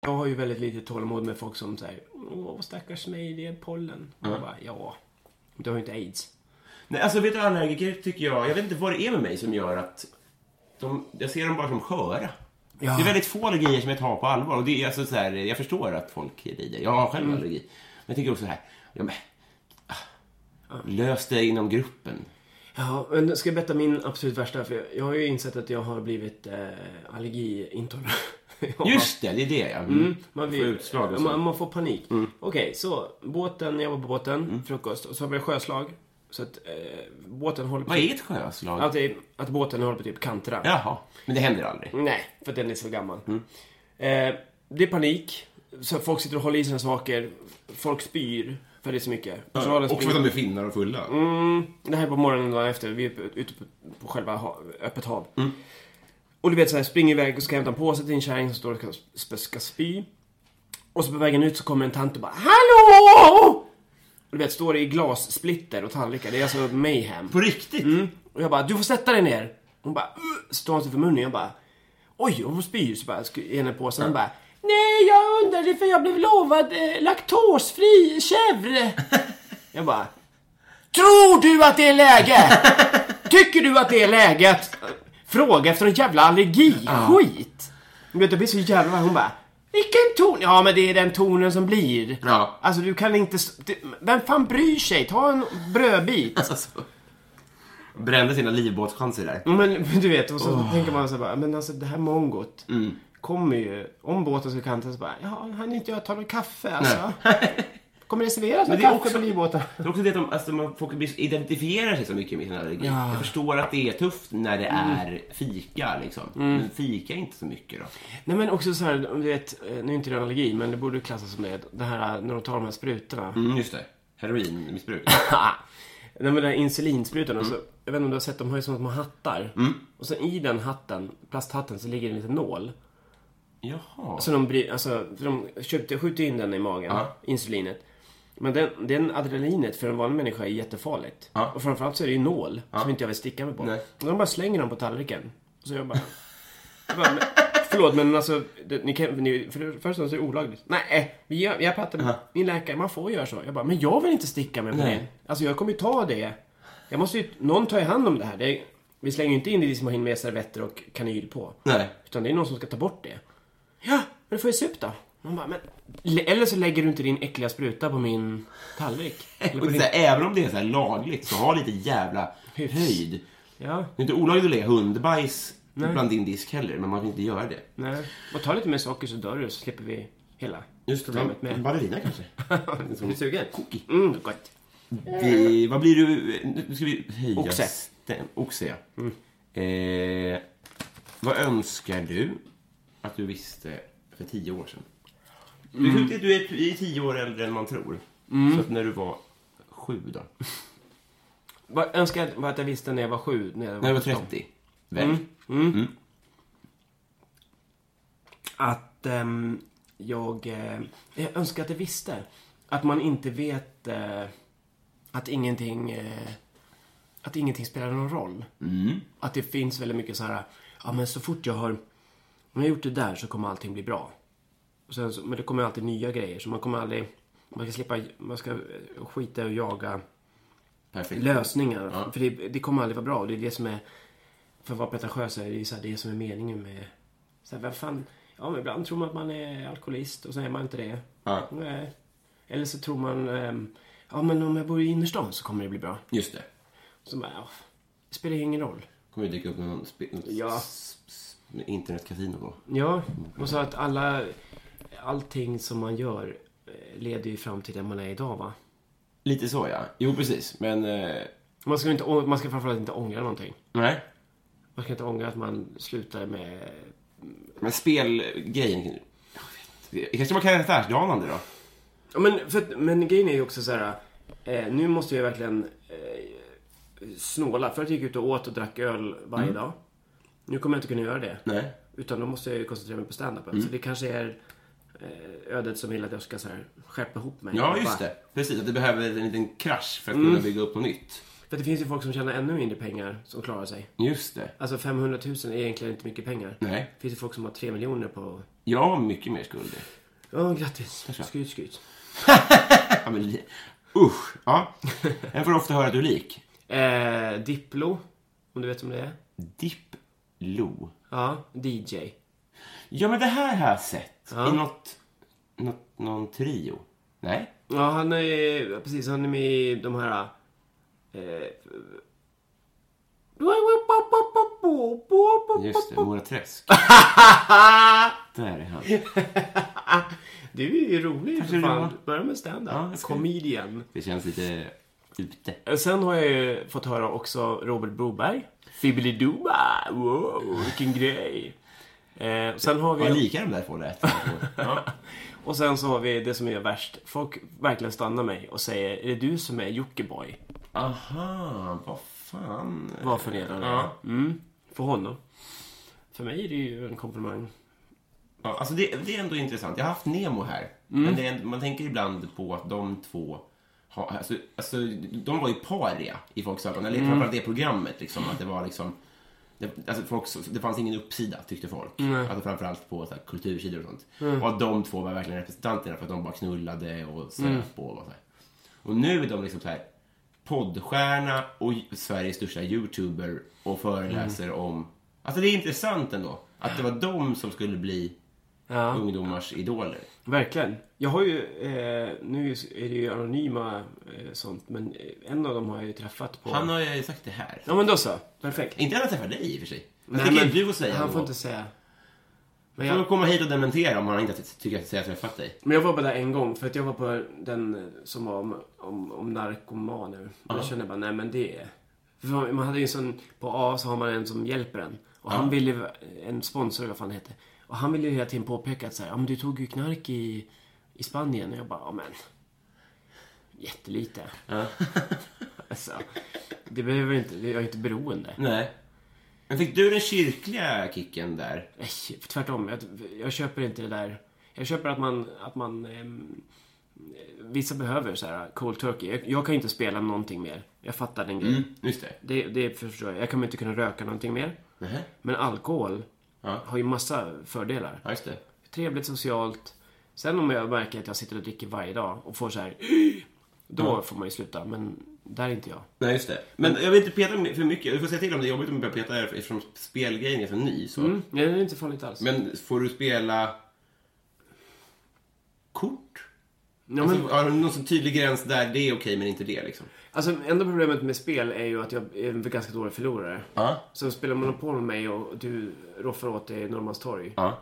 Jag har ju väldigt lite tålamod med folk som säger Åh, stackars mig, det är pollen. Och Jag bara, ja. Du har ju inte aids. Nej, alltså vet du, allergiker tycker jag... Jag vet inte vad det är med mig som gör att... De, jag ser dem bara som sköra. Ja. Det är väldigt få allergier som jag tar på allvar. Och det är alltså så här, jag förstår att folk lider. Jag har själv Mm. allergi. Men jag tycker också så här... Ja, men, ah, lös det inom gruppen. Ja, men ska jag berätta min absolut värsta? För jag, jag har ju insett att jag har blivit eh, allergiintolerant. Ja. Just det, det är det ja. Mm. Mm, man, Få vill, utslag och så. Mm. man, man får panik. Okej, så båten, jag var på båten, frukost. Och så har vi sjöslag. Så att eh, båten håller på... Vad är ett sjöslag? Att, det- att båten håller på typ kantra. Jaha, men det händer aldrig. Nej, för att den är så gammal. Mm. Eh, det är panik. Så folk sitter och håller i sina saker. Folk spyr. För det är så mycket. Personalen Och för springer- att de är finnar och fulla. Mm, det här är på morgonen dagen efter. Vi är uppe- ute på, på själva ha, öppet hav. Och du vet så här, springer iväg och ska hämta en påse till en kärring som står och ska, sp- ska spy. Och så på vägen ut så kommer en tant och bara HALLÅ! Och du vet, står det i glassplitter och tallrikar. Det är alltså mayhem. På riktigt? Och jag bara, du får sätta dig ner. Hon bara, "Ugh", så tar hon sig för munnen. Jag bara, oj, hon spyr. Så bara, ska- ger henne påsen. Hon bara, nej jag undrade för jag blev lovad eh, laktosfri chèvre. jag bara, tror du att det är läge? Tycker du att det är läge att eh, fråga efter en jävla allergiskit? Du vet, jag blir så jävla... Hon bara, vilken ton? Ja, men det är den tonen som blir. Ja. Alltså du kan inte... s- det- Vem fan bryr sig? Ta en brödbit. Alltså, brände sina livbåtschanser där. Men du vet, och så tänker man så här bara, men alltså det här mongot Mm. kommer ju, om båten skulle kantas så bara, ja, han inte jag ta någon kaffe alltså. kommer det serveras någon det är kaffe också- på livbåten? Det är också det att de, alltså, man, folk identifierar sig så mycket med sin allergi. Ja. Mm. Jag förstår att det är tufft när det är fika, liksom. Men fika är inte så mycket då. Nej men också så här, du vet, eh, nu är inte det en allergi, men det borde klassas som det, det här eh, när de tar de här sprutorna. Mm, just det. Heroinmissbruk. Nej men den här insulinsprutan, Mm. alltså, jag vet inte om du har sett, de har ju såna små hattar. Och så i den hatten, plasthatten, så ligger en liten nål. Jaha. Så de, bry, alltså, för de köpte, skjuter in den i magen, Ja. insulinet. Men den, den adrenalinet för en vanlig människa är jättefarligt. Ja. Och framförallt så är det ju nål som inte jag vill sticka mig på. Nej. Och de bara slänger dem på tallriken. Så jag bara... jag bara men, förlåt men alltså, det, ni kan, ni, för det första så är det olagligt. Nej, eh, vi gör, jag pratade med min läkare, man får göra så. Jag bara, men jag vill inte sticka mig på Nej. det. Alltså jag kommer ju ta det. Jag måste ju, någon tar ju hand om det här. Det, vi slänger ju inte in det i som har in med servetter och kanyl på. Nej. Utan det är någon som ska ta bort det. Ja, men då får jag se upp då. Man bara, men, eller så lägger du inte din äckliga spruta på min tallrik. Eller på Och din... så här, även om det är så här lagligt, så ha lite jävla Hyfs. höjd. Ja, Det är inte olagligt att lägga hundbajs bland din disk heller, men man kan inte göra det. nej. Och ta lite mer socker så dör du så slipper vi hela. Just det, Problemet en med- ballerina kanske? Är du sugen? Cookie. Mm, gott. Vi, vad blir du... Nu ska vi höja... Oxe. stäm- Oxe, ja. Eh, vad önskar du att du visste för tio år sedan? Du, du är du är tio år äldre än man tror. Så att när du var sju då? Vad önskar jag var att jag visste när jag var sju. När jag var, När du var 30? Väl? Att ehm, jag... Eh, jag önskar att jag visste. Att man inte vet eh, att ingenting... Eh, att ingenting spelar någon roll. Att det finns väldigt mycket så här... Ja, men så fort jag har... Om jag gjort det där så kommer allting bli bra. Och sen så, men det kommer alltid nya grejer, så man kommer aldrig... Man ska slippa... Man ska eh, skita och jaga Perfekt. lösningar. Ja. För det, det kommer aldrig vara bra. Det är det som är... För att vara pretentiös så är det ju så här, det som är meningen med... Så här, vad fan... Ja, men ibland tror man att man är alkoholist och så är man inte det. Ja. Nej. Eller så tror man... ehm, Ja, men om jag bor i innerstan så kommer det bli bra. Just det. Så bara, ja, det spelar ju ingen roll. kommer ju dyka upp någon sp- något Ja. s- s- Internetkasino då. Ja, och så att alla... Allting som man gör eh, leder ju fram till där man är idag, va? Lite så ja. Jo precis, men... Eh, Man ska, ju inte, å- man ska framförallt inte ångra någonting. nej. Man ska inte ångra att man slutar med... Men spelgrejen... Jag vet inte. Kanske man kan göra affärsdanande då? Ja, men, för, att- men grejen är ju också så här. Eh, nu måste jag verkligen eh, snåla. Förut gick jag ut och åt och drack öl varje dag. Nu kommer jag inte kunna göra det. Mm. Nej. Mm. Utan då måste jag ju koncentrera mig på standupen. Så det kanske är eh, ödet som vill att jag ska så här, skärpa ihop mig. Ja, just Bara- det. Precis, att det behöver en liten krasch för att Mm. kunna bygga upp något nytt. För att det finns ju folk som tjänar ännu mindre pengar som klarar sig. Just det. Alltså 500 000 är egentligen inte mycket pengar. Nej. Det finns ju folk som har 3 miljoner på... Jag har mycket mer skulder. Ja, grattis. Skryt, skryt. Ja, men, li- usch! Ja. En får ofta höra att du är lik. Eh, Diplo, om du vet om det är. Diplo. Ja, DJ. Ja, men det här har jag sett Ja. i något, något... Någon trio. Nej? Ja, han är... Precis, han är med i de här... Eh, Just det, Mora Träsk. Där är han. du är ju rolig är för det, fan. va? Börja med stand-up. Ja, jag ska- Comedian. Det känns lite ute. Eh, Sen har jag ju fått höra också Robert Broberg. Fibbeliduba, wow, vilken grej. Eh, och sen har Vad vi... lika de där två lät. Ja. Och sen så har vi det som är värst. Folk verkligen stannar mig och säger, är det du som är Jockiboi? Aha, vad fan. Vad förnedrande. Ja. Mm, för honom. För mig är det ju en komplimang. Ja, alltså det, det är ändå intressant. Jag har haft Nemo här. Men det är, ändå- man tänker ibland på att de två har, alltså, alltså, de var ju paria i folks ögon. Eller framförallt det programmet. Liksom, att det var liksom... Det, alltså folk, så- det fanns ingen uppsida, tyckte folk. Alltså framförallt på så här, kultursidor och sånt. Och att de två var verkligen representanterna för att de bara knullade och söp på. Och, så här. och nu är de liksom så här poddstjärna och j- Sveriges största youtuber och föreläser om... Alltså det är intressant ändå. Att det var de som skulle bli Ja, ungdomars idoler. verkligen. Jag har ju, eh, nu är det ju anonyma eh, sånt, men eh, en av dem har jag ju träffat på... Han har ju sagt det här. Ja men då så, perfekt. Inte att han träffar dig i och för sig. Men Nej, det kan men ju du och säga. Han får då. inte säga. Men Han får jag, komma hit och dementera om han inte tycker att jag har träffat dig. men jag var bara där en gång för att jag var på den eh, som var om, om, om narkomaner. Och då kände jag bara, nej men det är... för Man man hade ju en sån, på A så har man en som hjälper en. Och han ville, ju- en sponsor eller vad fan det heter. Och han ville ju hela tiden påpeka att så här, ja men du tog ju knark i, i Spanien. Och jag bara, ja men. Jättelite. alltså, det behöver inte, jag är inte beroende. Nej. Men fick du den kyrkliga kicken där? Nej, tvärtom. Jag, jag köper inte det där. Jag köper att man... Att man ehm, vissa behöver så här cold turkey. Jag, jag kan ju inte spela någonting mer. Jag fattar den grejen. Mm, just det. Det, det förstår jag. Jag kommer inte kunna röka någonting mer. Men alkohol Ja. har ju massa fördelar. Ja, just det. Trevligt, socialt. Sen om jag märker att jag sitter och dricker varje dag och får så här... Då får man ju sluta. Men där är inte jag. Nej, just det. Men jag vill inte peta för mycket. Du får säga till om det är jobbigt om du börjar peta här eftersom spelgrejen är så ny. Så. Mm, nej, det är inte farligt alls. Men får du spela kort? ja, men, Alltså, har du någon sån tydlig gräns där det är okej men inte det liksom? Alltså, enda problemet med spel är ju att jag är en ganska dålig förlorare. Ja. Så spelar Monopol med mig och du roffar åt dig i Norrmalmstorg. Ja,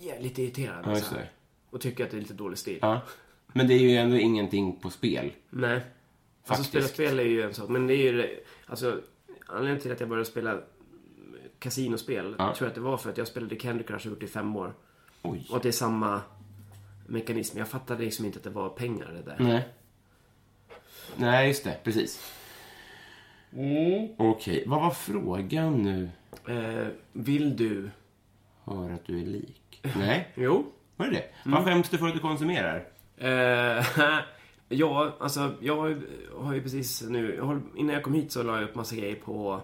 Jag är lite irriterad. ja just alltså. det. och tycker att det är lite dålig stil. Ja. Men det är ju ändå ingenting på spel. Nej. Alltså Faktiskt. spela spel är ju en sak. Men det är ju det- Alltså, anledningen till att jag började spela kasinospel tror jag att det var för att jag spelade Candy Crush och gjort det i fem år. Oj. Och att det är samma mekanism. Jag fattade liksom inte att det var pengar det där. Nej. Nej, just det. Precis. Mm. Okej, vad var frågan nu? Eh, vill du? Hör att du är lik. Nej, Jo. var det det? Mm. Vad skäms du för att du konsumerar? Eh, ja, alltså jag har ju- har ju precis nu, jag håller- innan jag kom hit så la jag upp massa grejer på,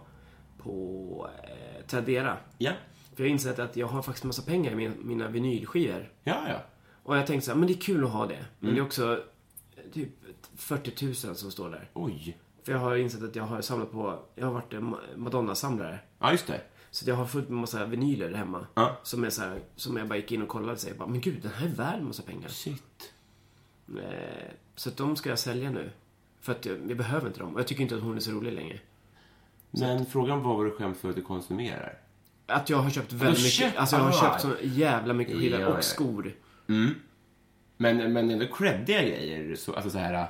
på eh, Tradera. Ja. För jag har insett att jag har faktiskt massa pengar i mina, mina vinylskivor. Ja, ja. Och jag tänkte så här, men det är kul att ha det. Men det är också eh, typ 40 000 som står där. Oj. För jag har insett att jag har samlat på, jag har varit en Ma- Madonna-samlare. Ja, just det. Så jag har fullt med massa vinyler hemma. Ja. Som, är så här, som jag bara gick in och kollade och säger bara, men gud den här är värd massa pengar. Shit. Eh, Så att de ska jag sälja nu. För att jag- vi behöver inte dem. Och jag tycker inte att hon är så rolig längre. Men frågan var vad du skäms för att du konsumerar. Att jag har köpt väldigt Du mycket. köpt- Alltså jag har ah. köpt så jävla mycket skidor Ja, ja. och skor. Men, men ändå creddiga grejer. Så, alltså så här...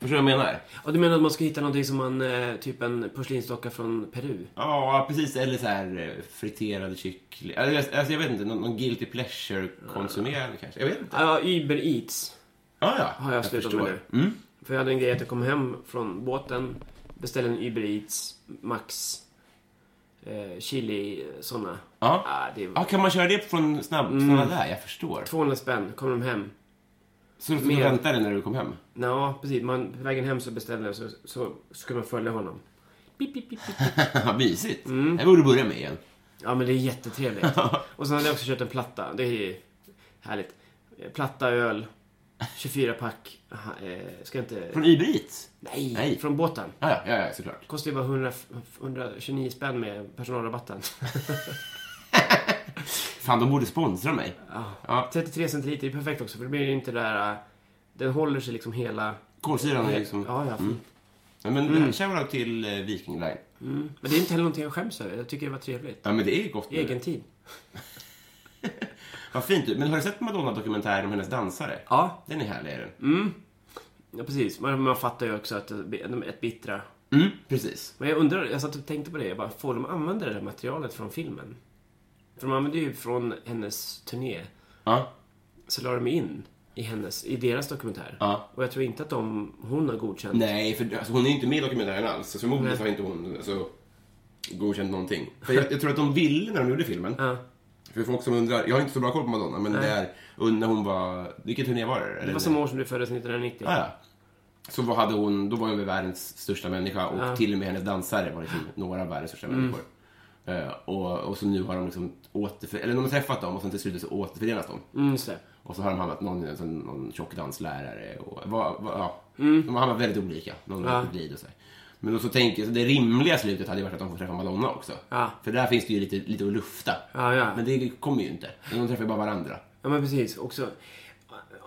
Förstår du vad jag menar? Och du menar att man ska hitta någonting som man, eh, typ en porslinsdocka från Peru? Ja, precis. Eller så här eh, friterad kyckling. Alltså, jag- alltså, jag vet inte. Någon, någon guilty pleasure-konsumerande kanske. Jag vet inte. Ja, Uber Eats Ja, ja. Mm. har jag, slutat förstår. med nu. För jag hade en grej att jag kom hem från båten, beställde en Uber Eats Max eh, Chili såna. Ja. Ah, det Ja, var kan man köra det från snabb, Mm. snabba där? Jag förstår. 200 spänn, kom de hem. Så du Mer. väntade när du kom hem? Ja, precis. Man, på vägen hem så beställde jag så, så skulle man följa honom. Pip, pip, pip, pip. Vad mysigt. Mm. Det borde börja med igen. Ja, men det är jättetrevligt. Och sen hade jag också köpt en platta. Det är ju härligt. Eh, Platta, öl, 24-pack. Aha, eh, Ska jag inte... Från Ibrit? Nej, Nej. från båten. Ja, ja, ja, ja, såklart. Kostar ju bara 100, 129 spänn med personalrabatten. Fan, de borde sponsra mig. Ja. 33 centiliter är perfekt också, för det blir ju inte det där... eh, Den håller sig liksom hela... Kolsyran är liksom... Ja, ja. fint. Ja, men mm. shoutout till eh, Viking Line. Men det är inte heller någonting jag skäms över. Jag tycker det var trevligt. Ja, men det är gott. I egen tid. Vad fint. Men har du sett Madonna-dokumentären om hennes dansare? Ja. Den är härlig, är den. Ja, precis. Man, man fattar ju också att de de är ett bittra. Mm, precis. Men jag undrar, jag satt och tänkte på det, jag bara, får de använda det där materialet från filmen? För de använde ju från hennes turné, Ja. så la de in i, hennes, i deras dokumentär. Ja. Och jag tror inte att de, hon har godkänt. Nej, för alltså, hon är inte med i dokumentären alls. Så förmodligen Nej. har inte hon alltså, godkänt någonting. För jag, jag tror att de ville när de gjorde filmen. Ja. För folk som undrar, jag har inte så bra koll på Madonna, men det är när hon var, vilken turné var det? Eller? Det var samma år som du föddes, 1990. Ja, ja. Så vad hade hon, då var hon väl världens största människa och till och med hennes dansare var liksom några av världens största människor. Eh, och, och så nu har de liksom återför, eller de har träffat dem och sen till slut så återförenas de. Mm, just det. Och så har de hamnat någon, någon, någon tjock danslärare och vad- vad- ja. De har hamnat väldigt olika. Någon Mm. Ja. har glid och så här. Men då så tänker jag, så det rimliga slutet hade ju varit att de får träffa Madonna också. Ja. För där finns det ju lite, lite att lufta. Ja, ja. Men det kommer ju inte. De träffar ju bara varandra. Ja, men precis. Också,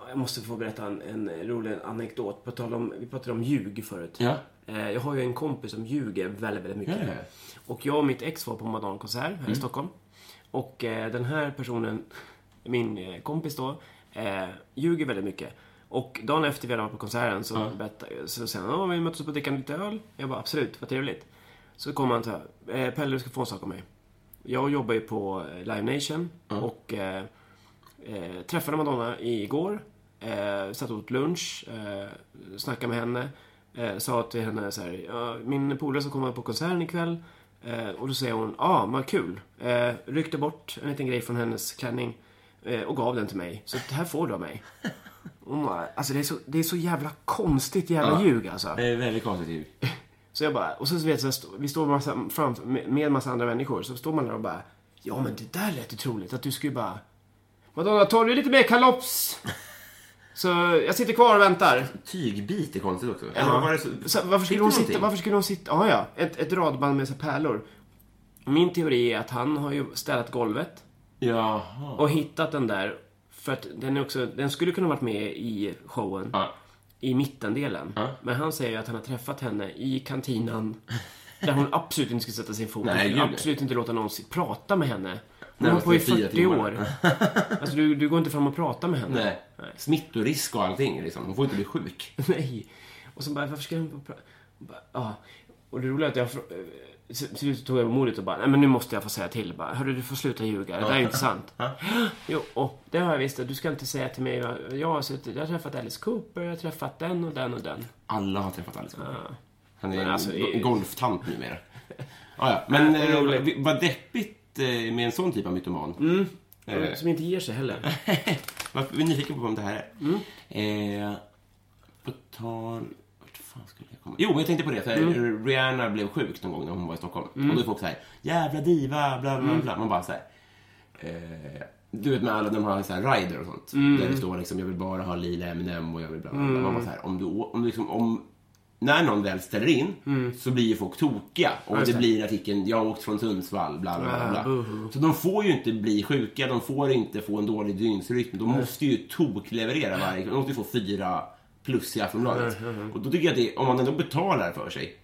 jag måste få berätta en, en rolig anekdot. På tal om, vi pratade om ljug förut. Ja. Eh, Jag har ju en kompis som ljuger väldigt, väldigt mycket. Ja, ja, Mm. ja. Och jag och mitt ex var på Madonna-konsert här i Stockholm. Och eh, den här personen, min eh, kompis då, eh, ljuger väldigt mycket. Och dagen efter vi hade varit på konserten så, berättade, så säger han "Ja, vi möttes upp och dricka lite öl. Jag bara absolut, vad trevligt. Så kommer han så här, eh, Pelle du ska få en sak av mig. Jag jobbar ju på eh, Live Nation och eh, eh, träffade Madonna igår. Eh, satt och åt lunch, eh, snackade med henne. Eh, sa till henne så här, ja, min polare ska komma på konserten ikväll. Eh, och då säger hon, ja ah, vad kul. Eh, ryckte bort en liten grej från hennes klänning eh, och gav den till mig. Så det här får du av mig. Hon bara, alltså det är så, det är så jävla konstigt jävla ljug alltså. Det är väldigt konstigt ju. Så jag bara, och så vet jag, vi står massa, fram, med en massa andra människor, så står man där och bara, ja men det där lät ju troligt att du skulle bara, Madonna tar du lite mer kalops? Så jag sitter kvar och väntar. Tygbit är konstigt också. Eller vad var det så- Så varför skulle hon Fick du sitta, någonting? varför skulle hon sitta, ja ja, ett, ett radband med så här pärlor. Min teori är att han har ju städat golvet Jaha. och hittat den där, för att den är också, den skulle kunna varit med i showen Ja. i mittendelen. Men han säger ju att han har träffat henne i kantinan. Där hon absolut inte skulle sätta sin fot. Nej, hon skulle gud, nej. absolut inte låta någon si- prata med henne. Hon Nej, har på i det är fyra 40 timmar. år. Alltså du, du går inte fram och pratar med henne. Nej. Smittorisk och allting liksom. Hon får inte bli sjuk. Nej. Och så bara, varför ska hon prata? Ja. Och det roliga är att jag... frå- eh, så- Till slut tog jag modet och bara, nej men nu måste jag få säga till. Bara, Hörru, du får sluta ljuga. Det där är inte sant. jo, och det har jag visst. Du ska inte säga till mig. va? Jag har, suttit, jag har träffat Alice Cooper, jag har träffat den och den och den. Alla har träffat Alice Cooper. Han är Men en alltså, go- det- golftant numera. ja, ja. Men det är eh, roligt. Mm. vad- vad deppigt eh, med en sån typ av mytoman. Eh, Som inte ger sig heller. varför är nyfiken på vem det här är? Mm. Eh, på tal... Vart fan skulle jag komma? Jo, men jag tänkte på det. Så här, Mm. Rihanna blev sjuk någon gång när hon var i Stockholm. Och då är folk så här, jävla diva, bla bla Mm. bla. Man bara så här, eh, du vet med alla de här, så här rider och sånt. Där det står liksom, jag vill bara ha lila M&M och jag vill bla bla bla. Man bara så här, om du, å- om du liksom, om, när någon väl ställer in så blir ju folk tokiga. Och Mm. det uh-huh. blir artikeln, jag har åkt från Sundsvall, bla bla bla. bla. Så de får ju inte bli sjuka, de får inte få en dålig dygnsrytm. De måste ju tokleverera varje kväll. De måste ju få fyra plus i Aftonbladet. Och då tycker jag att det, om man ändå betalar Mm. för sig,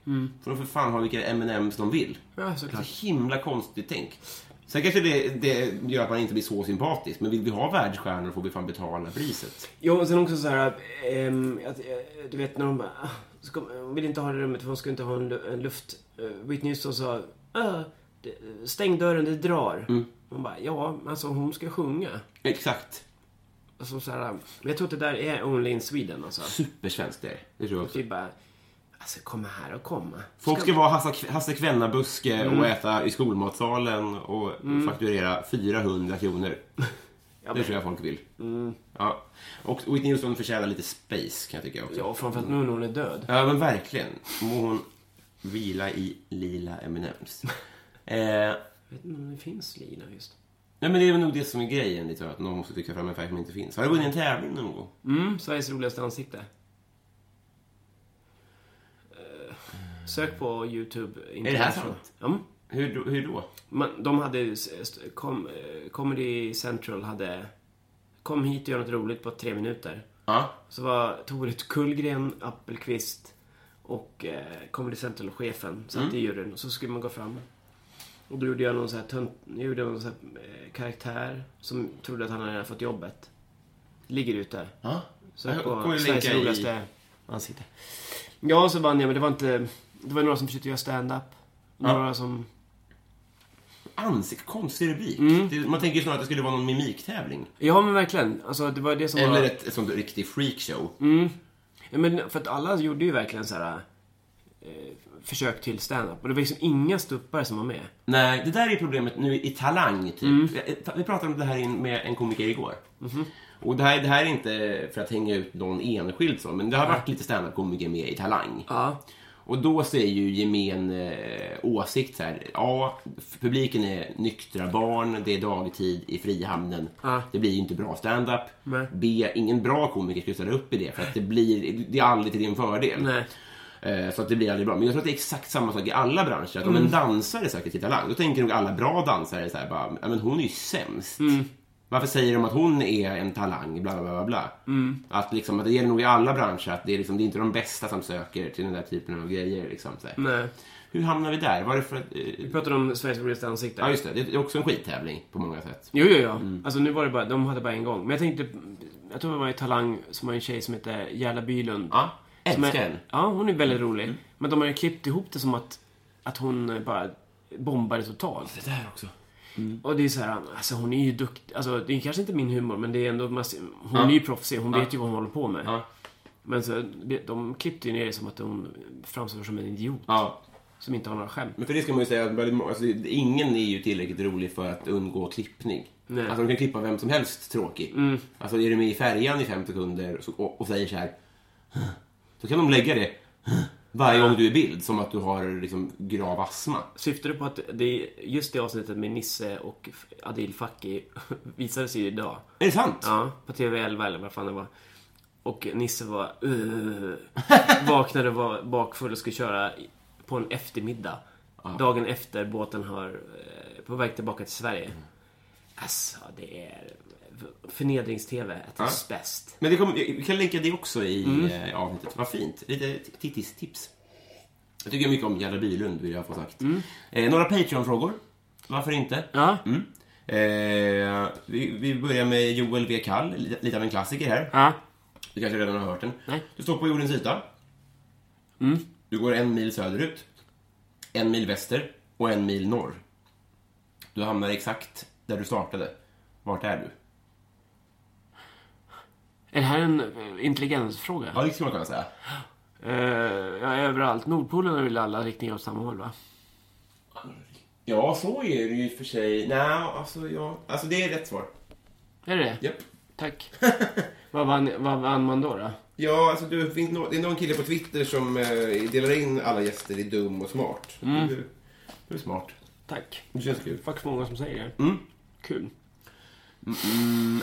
får de för fan ha vilka M&M's de vill. Ja, Det såklart. är så himla konstigt tänk. Sen kanske det, det gör att man inte blir så sympatisk, men vill vi ha världsstjärnor får vi fan betala priset. Jo, och sen också så här, ehm, att, eh, du vet när de bara, "Ah, ska, hon vill inte ha det rummet för hon ska inte ha en, lu- en luft. Eh, Whitney Houston sa, "Ah, det- stäng dörren, det drar. Mm. Man bara, ja, men alltså hon ska sjunga. Exakt. Alltså, så här, men jag tror att det där är only in Sweden alltså. Supersvenskt det är det. Det tror jag också. Det är bara, alltså komma här och komma. Folk ska vara Hasse, Hasse Kvennabuske och äta i skolmatsalen och fakturera 400 kronor. det tror jag folk vill. Ja. Och Whitney Houston förtjänar lite space kan jag tycka också. Ja, framförallt nu när hon är död. Ja, men verkligen. Må hon vila i lila Eminems. eh, Jag vet inte om det finns Lina just. nej, men det är väl nog det som är grejen lite, att någon måste tycka fram en färg som inte finns. Har du vunnit en tävling någon gång? Mm, Sveriges roligaste ansikte. Eh, Sök på YouTube. Mm. Är det här sant? Ja, men Hur, då- hur då? man, de hade... ju s- st- Com, eh, Comedy Central hade... Kom hit och gör något roligt på tre minuter. Ja. Så var Torit Kullgren, Appelqvist och eh, Comedy Central-chefen satt Mm. i juryn. Och så skulle man gå fram. Och då gjorde jag någon sån här, tönt, jag gjorde någon sån här eh, karaktär som trodde att han hade redan fått jobbet. Ligger ute. ja. Så Jag jag kommer på att Sveriges länka i- roligaste ansikte. Ja, så vann jag, men det var inte... Det var några som försökte göra stand-up. Några som... Ansikt, konstig rubrik. Mm. Det, man tänker ju snarare att det skulle vara någon mimiktävling. Ja, men verkligen. Alltså, det var det som Eller var... ett, ett sånt riktigt freakshow. Ja, men för att alla gjorde ju verkligen så här... Eh, försök till stand-up. Och det var liksom inga stuppare som var med. Nej, det där är problemet nu i Talang, typ. Mm. Vi- Vi pratade om det här in- med en komiker igår. Mhm. Och det här, det här är inte för att hänga ut någon enskild så, men det har varit lite standup-komiker med i Talang. Ja. Och då säger ju gemen eh, åsikt så här, ja, f- publiken är nyktra barn, det är dagtid i Frihamnen. Ja. Det blir ju inte bra standup. Nej. B, ingen bra komiker ska ställa upp i det, för att det blir, det är aldrig till din fördel. Nej. Eh, Så att det blir aldrig bra. Men jag tror att det är exakt samma sak i alla branscher. Att om Mm. en dansare söker till Talang, då tänker nog alla bra dansare så här bara, "Ja, men hon är ju sämst. Mm. Varför säger de att hon är en talang? Bla, bla, bla, bla. Mm. Att, liksom, att det gäller nog i alla branscher att det är, liksom, det är inte de bästa som söker till den där typen av grejer. Liksom, så här. Nej. Hur hamnar vi där? Var det för att, eh, eh, Vi pratade om Sveriges roligaste ansikte. ja, just Mm. det. Det är också en skittävling på många sätt. Jo, jo, jo. Alltså nu var det bara, de hade bara en gång. Men jag tänkte, jag tror det var i Talang som var en tjej som hette Gerda Bylund. Ja, Som älskar är, Mm. den. Ja, hon är väldigt rolig. Men de har ju klippt ihop det som att, att hon bara bombade totalt. Det där också. Och det är så här, alltså hon är ju duktig. Alltså det är kanske inte min humor, men det är ändå, man ser- hon är ju proffsig. Hon vet ju vad hon håller på med. Ja. Men så, det- de klippte ju ner det som att hon framstår som en idiot. Ja. Som inte har några skämt. Men för det ska man ju säga, att väldigt må- alltså, ingen är ju tillräckligt rolig för att undgå klippning. Nej. Mm. Alltså de kan klippa vem som helst tråkig. Alltså är du med i färjan i fem sekunder och, så- och, och säger så här. Då kan de lägga det varje gång du är i bild, som att du har liksom grav astma. Syftar du på att det, just det avsnittet med Nisse och Adil Fakki visades ju idag? Är det sant? Ja, på TV11 eller vad fan det var. Och Nisse var... Uh, vaknade och var bakfull och skulle köra i- på en eftermiddag. Dagen efter båten har... eh, På väg tillbaka till Sverige. Alltså, det är... Förnedrings-TV at its best. Men det kommer- vi kan länka det också i Mm. eh, avsnittet. Vad fint. Lite t- tittistips. Jag tycker mycket om Gerda Bylund, vill jag få sagt. Eh, några Patreon-frågor. Varför inte? Mm. Ja. Mm. Eh, vi, vi börjar med Joel V. Kall, lite, lite av en klassiker här. Ja. Du kanske redan har hört den. Nej. Mm. Du står på jordens yta. Du går en mil söderut, en mil väster och en mil norr. Du hamnar exakt där du startade. Vart är du? Är det här en eh, intelligensfråga? Ja, det skulle man kunna säga. Eh, ja, överallt. Nordpolen är väl alla riktningar åt samma håll, va? Ja, så är det ju i och för sig. Nej, alltså ja. Alltså det är rätt svar. Är det det? Japp. Tack. vad, vann, vad vann man då? då? Ja, alltså du, finns nå- det är någon kille på Twitter som eh, delar in alla gäster i dum och smart. Du, du är smart. Tack. Det känns kul. Faktiskt många som säger det. Mm. Kul.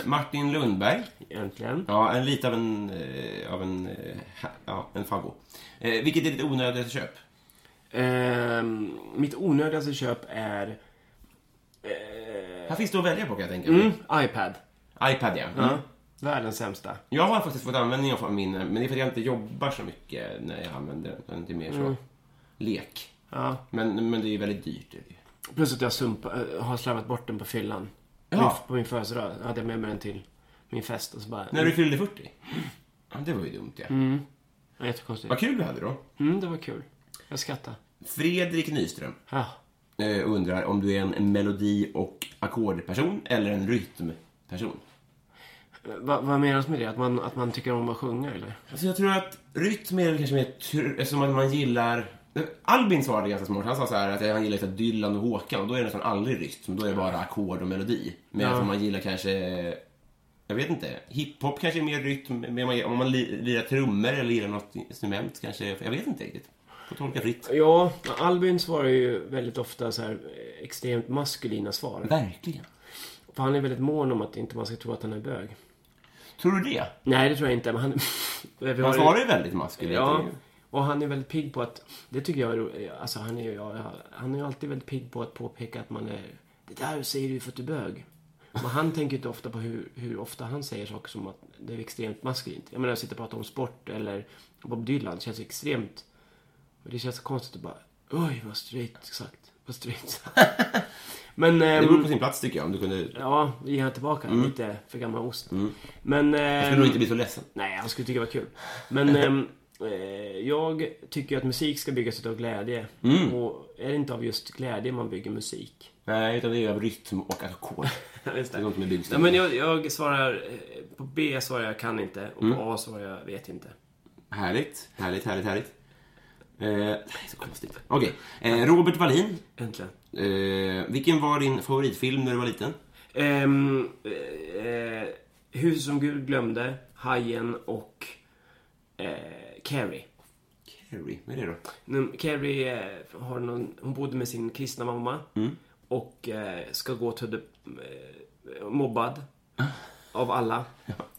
Martin Lundberg. Egentligen. Ja, en lite av en, eh, av en, eh, ha- ja, en favvo. Eh, vilket är ditt onödigaste köp? Ehm, mitt onödigaste köp är... eh, Här finns det att välja på kan jag tänka mig. mm, iPad. iPad ja. Ja. Mm. Världens sämsta. Jag har faktiskt fått användning av min, eh, men det är för att jag inte jobbar så Mm. mycket när jag använder den. utan Det är mer så lek. Ja. Men, men det är ju väldigt dyrt. Är det. ju. Plus att jag sumpa, eh, har slarvat bort den på fyllan. Ja. Min, på min födelsedag hade jag med mig den till min fest och så bara... När du fyllde Mm. 40? Ja, det var ju dumt ja. Ja, jättekonstigt. Vad kul du hade då. Mm, det var kul. Jag skrattade. Fredrik Nyström Ja. eh, undrar om du är en melodi och ackordperson eller en rytmperson. Eh, Va, vad menas med det? Att man, att man tycker om att sjunga eller? Alltså jag tror att rytm är väl kanske mer tr- som att man gillar... Albin svarade ganska smart. Han sa så här att han gillar så här Dylan och Håkan och då är det nästan aldrig rytm. Då är det bara ackord och melodi. Men jag tror man gillar kanske... Jag vet inte. Hiphop kanske är mer rytm. Men man- om man li- lirar trummor eller lirar något instrument kanske... Jag vet inte riktigt. Får tolka fritt. Ja, Albin svarar ju väldigt ofta så här eh, extremt maskulina svar. Verkligen. För han är väldigt mån om att inte man ska tro att han är bög. Tror du det? Nej, det tror jag inte. Men han... Vi har Han ju- svarar ju väldigt maskulint. Ja, och han är väldigt pigg på att... Det tycker jag är roligt. Alltså han är ju... ja, ja, Han är ju alltid väldigt pigg på att påpeka att man är... Det där säger du för att du är bög. Men han tänker inte ofta på hur, hur ofta han säger saker som att det är extremt maskulint. Jag menar, jag sitter och pratar om sport eller Bob Dylan. Det känns extremt... och Det känns konstigt att bara... Oj, vad straight sagt. Vad straight sagt. Men... Det ehm, vore på sin plats tycker jag om du kunde... Jag Ja, ge han tillbaka lite för gammal ost. Men... Jag Mm. skulle nog inte bli så ledsen. Nej, han skulle tycka det var kul. Men ehm, eh, jag tycker att musik ska byggas av glädje. Och är det inte av just glädje man bygger musik? Nej, utan det är ju av rytm och ackord. Just Det är något med Nej, byggstilen. men jag, jag svarar... eh, På B svarar jag kan inte och på A svarar jag vet inte. Härligt, härligt, härligt, härligt. Eh, nej, så konstigt. Okej, eh, Robert Wallin. Äntligen. Eh, vilken var din favoritfilm när du var liten? Ehm, eh, eh, Huset som Gud glömde, Hajen och eh, Carrie. Carrie, vad är det då? Nu, Carrie eh, har någon, hon bodde med sin kristna mamma Mm. och eh, ska gå till the, eh, mobbad Ah. av alla.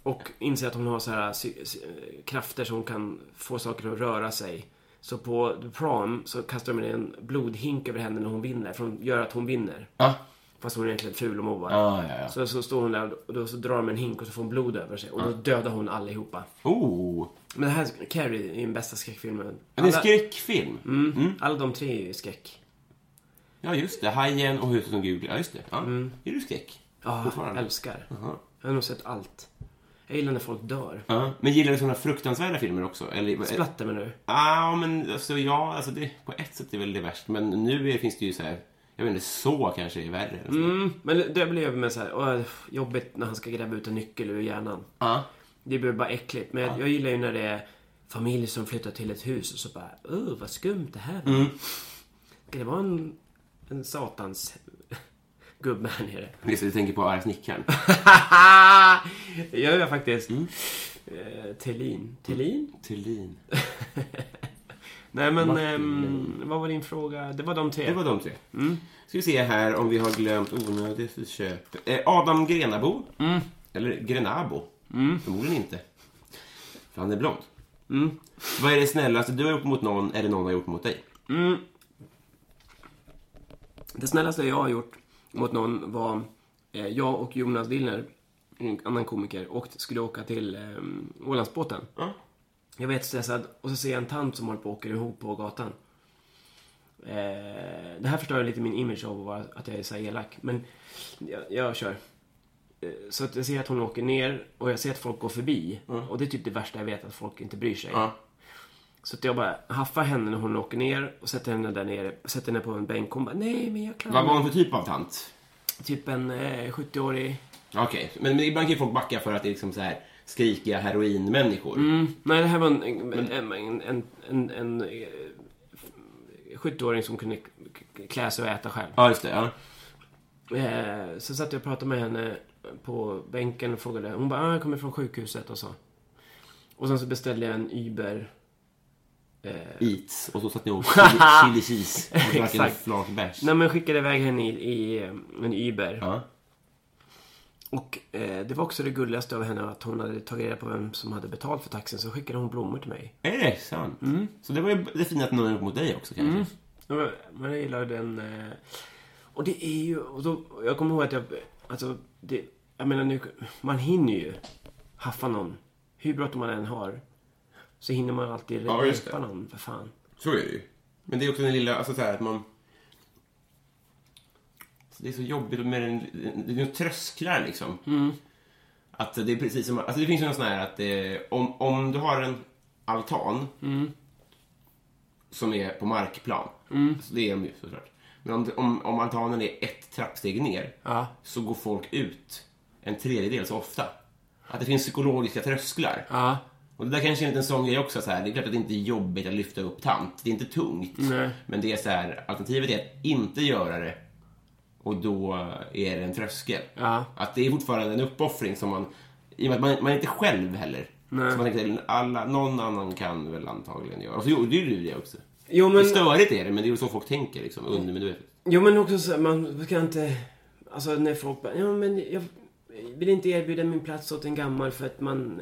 Och inser att hon har så här sy- sy- eh, krafter som kan få saker att röra sig. Så på the prom så kastar de en blodhink över henne när hon vinner. För de gör att hon vinner. Ja. Fast hon är egentligen ful och mobbad. Ja, Ah. ja, ja. Så, så står hon där och då så drar de en hink och så får hon blod över sig. Och Ah. då dödar hon allihopa. Oh, Men det här, Carrie är den bästa skräckfilmen. det är en Alla- Mm. skräckfilm. alla de tre är ju skräck. Ja, just det. Hajen och Huset som Gud. Ja, just det. Ja. Är du skräck? Mm. Ja, jag Fortfarande? älskar. Jag har nog sett allt. Jag gillar när folk dör. Ja. Men gillar du sådana fruktansvärda filmer också? Eller, Splatter mig nu. Ja, men alltså, ja, alltså det, på ett sätt är väl det värst. Men nu är, finns det ju så här, jag vet inte, så kanske är värre. Alltså. Mm, men det blir över med så här, åh, jobbigt när han ska gräva ut en nyckel ur hjärnan. Ja. Det blir bara äckligt. Men jag, jag gillar ju när det är familj som flyttar till ett hus och så bara, åh vad skumt det här var. Ska det vara en, en satans gubbe här nere? Visst, du tänker på Arga snickaren? det gör jag faktiskt. Eh, Tellin. Tellin? Thulin. Nej men, Martin ehm, vad var din fråga? Det var de tre. Det var de tre. Ska vi se här om vi har glömt onödigt köp. Eh, Adam Grenabo. Eller Grenabo. Förmodligen inte. För han är blond. Vad är det snällaste du har gjort mot någon eller någon har gjort mot dig? Det snällaste jag har gjort mot någon var eh, jag och Jonas Dillner, en annan komiker, och skulle åka till eh, Ålandsbåten. Jag var jättestressad och så ser jag en tant som håller på att åka ihop på gatan. Eh, det här förstör lite min image av att vara- att jag är så här elak, men jag, jag kör. Eh, Så att jag ser att hon åker ner och jag ser att folk går förbi. Och det är typ det värsta jag vet, att folk inte bryr sig. Så att jag bara haffar henne när hon åker ner och sätter henne där nere, sätter henne på en bänk. Hon bara, nej men jag klarar Vad mig." var hon för typ av tant? Typ en eh, 70-årig... Okej, men, men ibland kan ju folk backa för att det är liksom så här skrikiga heroinmänniskor. Mm. Nej, det här var en, en, en, en, en, en, en eh, 70-åring som kunde k- k- klä sig och äta själv. Ja, just det. Ja. Eh, så satt jag och pratade med henne på bänken och frågade. Hon bara, ah, jag kommer från sjukhuset och så. Och sen så beställde jag en Uber. Eats. Och så satte ni ihop chili, chili cheese och drack en Exakt. flakbärs. Nej, men skickade iväg henne i, i eh, en Uber. Ja. Och eh, det var också det gulligaste av henne att hon hade tagit reda på vem som hade betalt för taxin. Så skickade hon blommor till mig. Är det sant? Mm. Så det var ju det fina att någon har gjort mot dig också kanske. Ja, Men jag gillar den... eh, Och det är ju... Och då, jag kommer ihåg att jag... Alltså, det, jag menar nu... Man hinner ju haffa någon. Hur bråttom man än har. Så hinner man alltid Ja, just det. repa någon, för fan. Så är det ju. Men det är också den lilla, alltså så här att man... Det är så jobbigt med den, det är ju trösklar liksom. Att det är precis som, alltså det finns ju en sån här att eh, om, om du har en altan Mm. som är på markplan, Mm. så det är de ju såklart. Men om, om, om altanen är ett trappsteg ner Ja. så går folk ut en tredjedel så ofta. Att det finns psykologiska trösklar. Ja. Och det där kanske är en liten sån grej också. Så här. Det är klart att det inte är jobbigt att lyfta upp tant. Det är inte tungt. Nej. Men det är så här, alternativet är att inte göra det. Och då är det en tröskel. Ja. Att det är fortfarande en uppoffring som man... I och med att man, man är inte själv heller. Nej. Så man tänker alla, någon annan kan väl antagligen göra. Och så gjorde ju du det också. Jo, men- Det är störigt är det, men det är ju så folk tänker liksom. Undermedvetet. Jo men också så här, man ska inte... Alltså när folk bara, ja men jag vill inte erbjuda min plats åt en gammal för att man...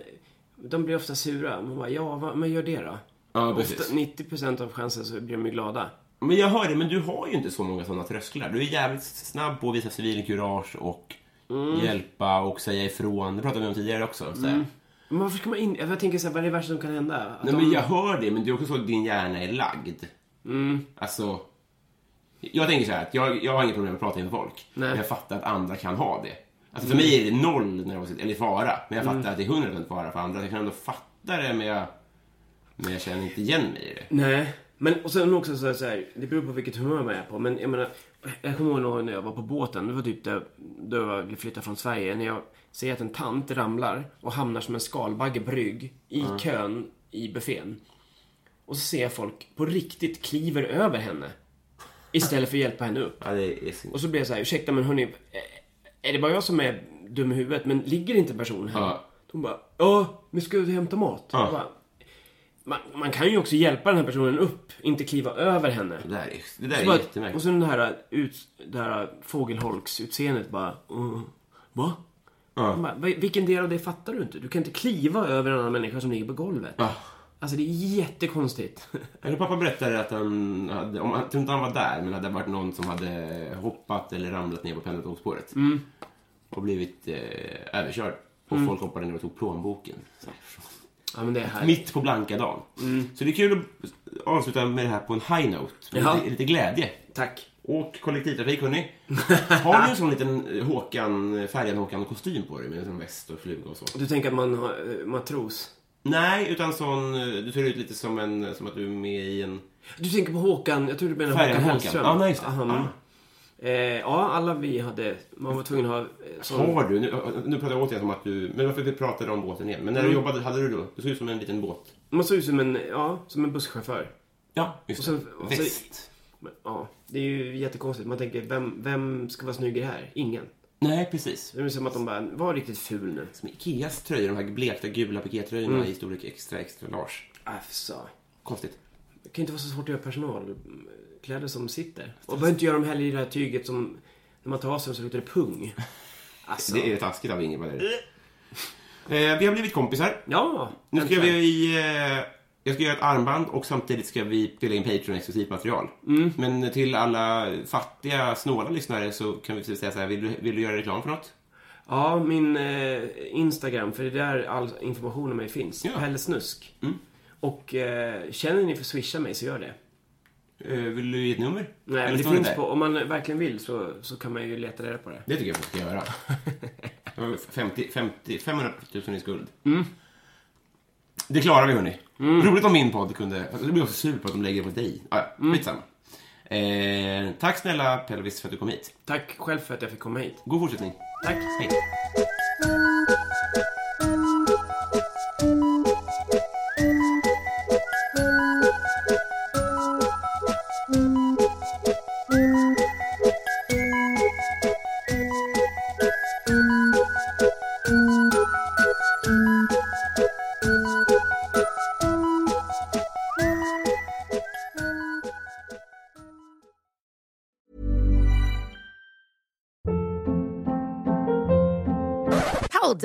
De blir ofta sura. Man bara, ja vad, men gör det då. Ja, precis. Ofta, 90% av chansen så blir de ju glada. Men jag hör det, men du har ju inte så många sådana trösklar. Du är jävligt snabb på att visa civilkurage och Mm. hjälpa och säga ifrån. Det pratade vi om tidigare också. Så här. Men varför ska man in... Jag tänker så här, vad är det värsta som kan hända? Att Nej, de- men jag hör det, men det är också så att din hjärna är lagd. Mm. Alltså, jag tänker så här att jag, jag har inget problem med att prata inför folk. Nej. Mm. Men jag fattar att andra kan ha det. Alltså för mig är det noll nervositet, eller fara. Men jag fattar att det är 100% fara för andra. Jag kan ändå fatta det, men jag, men jag känner inte igen mig i det. Nej, men och sen också så här, så här, det beror på vilket humör man är på. Men jag menar, jag kommer ihåg någon gång när jag var på båten. Det var typ där, då jag ville flytta från Sverige. När jag ser att en tant ramlar och hamnar som en skalbagge på rygg i kön i buffén. Och så ser jag folk på riktigt kliver över henne. Istället för att hjälpa henne upp. Ja, det är synd. Och så blir jag så här, ursäkta men hörni, eh, är det bara jag som är dum i huvudet? Men ligger inte personen här? Ja. De bara, ja, men ska du hämta mat? Ja. Jag Bara, man, man kan ju också hjälpa den här personen upp, inte kliva över henne. Det där är, det där Så är bara- jättemärkligt. och sen det här, ut, det här fågelholksutseendet bara, uh, va? Man Bara, "Va- vilken del av det fattar du inte? Du kan inte kliva över en annan människa som ligger på golvet. Ja. Alltså det är jättekonstigt. Eller pappa berättade att han, hade, om, jag tror inte han var där, men att det hade varit någon som hade hoppat eller ramlat ner på pendeltågsspåret. Och blivit eh, överkörd. Och folk hoppade ner och tog plånboken. Så här. ja men det är här. Mitt på blanka dagen. Så det är kul att avsluta med det här på en high note. Med Ja. lite, lite glädje. Tack. Åk kollektivtrafik hörni. Har du en sån liten eh, Håkan, färgad Håkan-kostym på dig med en sån väst och fluga och så? Du tänker att man har eh, matros? Nej, utan sån, eh, du ser ut lite som, en, som att du är med i en... Du tänker på Håkan, jag tror du menar Färjan Håkan Håkan. Hellström. Ja, nej, just det. Aha, Ja. Eh, ja, alla vi hade, man var tvungen att ha eh, sån... Har du? Nu, nu pratar jag återigen om att du... Men varför vi pratade om båten igen? Men när Mm. du jobbade, hade du då? Du såg ut som en liten båt. Man såg ut som en, ja, som en busschaufför. Ja, just Och sen- och det. sen- Väst. Men, ja, det är ju jättekonstigt. Man tänker, vem, vem ska vara snygg i det här? Ingen. Nej, precis. Det är som att de bara, var riktigt ful nu. Som Ikeas tröjor, de här blekta gula pikétröjorna Mm. i storlek extra, extra large. Afsa. Konstigt. Det kan ju inte vara så svårt att göra personalkläder som sitter. Och behöver inte göra dem heller i det här tyget som, när man tar av sig dem så luktar det pung. Alltså. Det är taskigt av Ingemar. det är det. Eh, vi har blivit kompisar. Ja! Nu ska äntligen. vi... Eh, jag ska göra ett armband och samtidigt ska vi spela in Patreon-exklusivt material. Mm. Men till alla fattiga, snåla lyssnare så kan vi precis säga så här, vill du, vill du göra reklam för något? Ja, min eh, Instagram, för det är där all information om mig finns. Ja. Pelle Snusk. Och eh, känner ni för att swisha mig så gör det. Eh, vill du ge ett nummer? Nej, men Eller det står det finns där? på, om man verkligen vill så, så kan man ju leta reda på det. Det tycker jag folk ska göra. Det var 50, 50, 500 000 i skuld. Det klarar vi, hörni. Roligt om min podd kunde... Fast Det blir också sur på att de lägger det på dig. Ah, ja, skitsamma. Eh, tack snälla Pelvis för att du kom hit. Tack själv för att jag fick komma hit. God fortsättning. Tack. Hej. Hold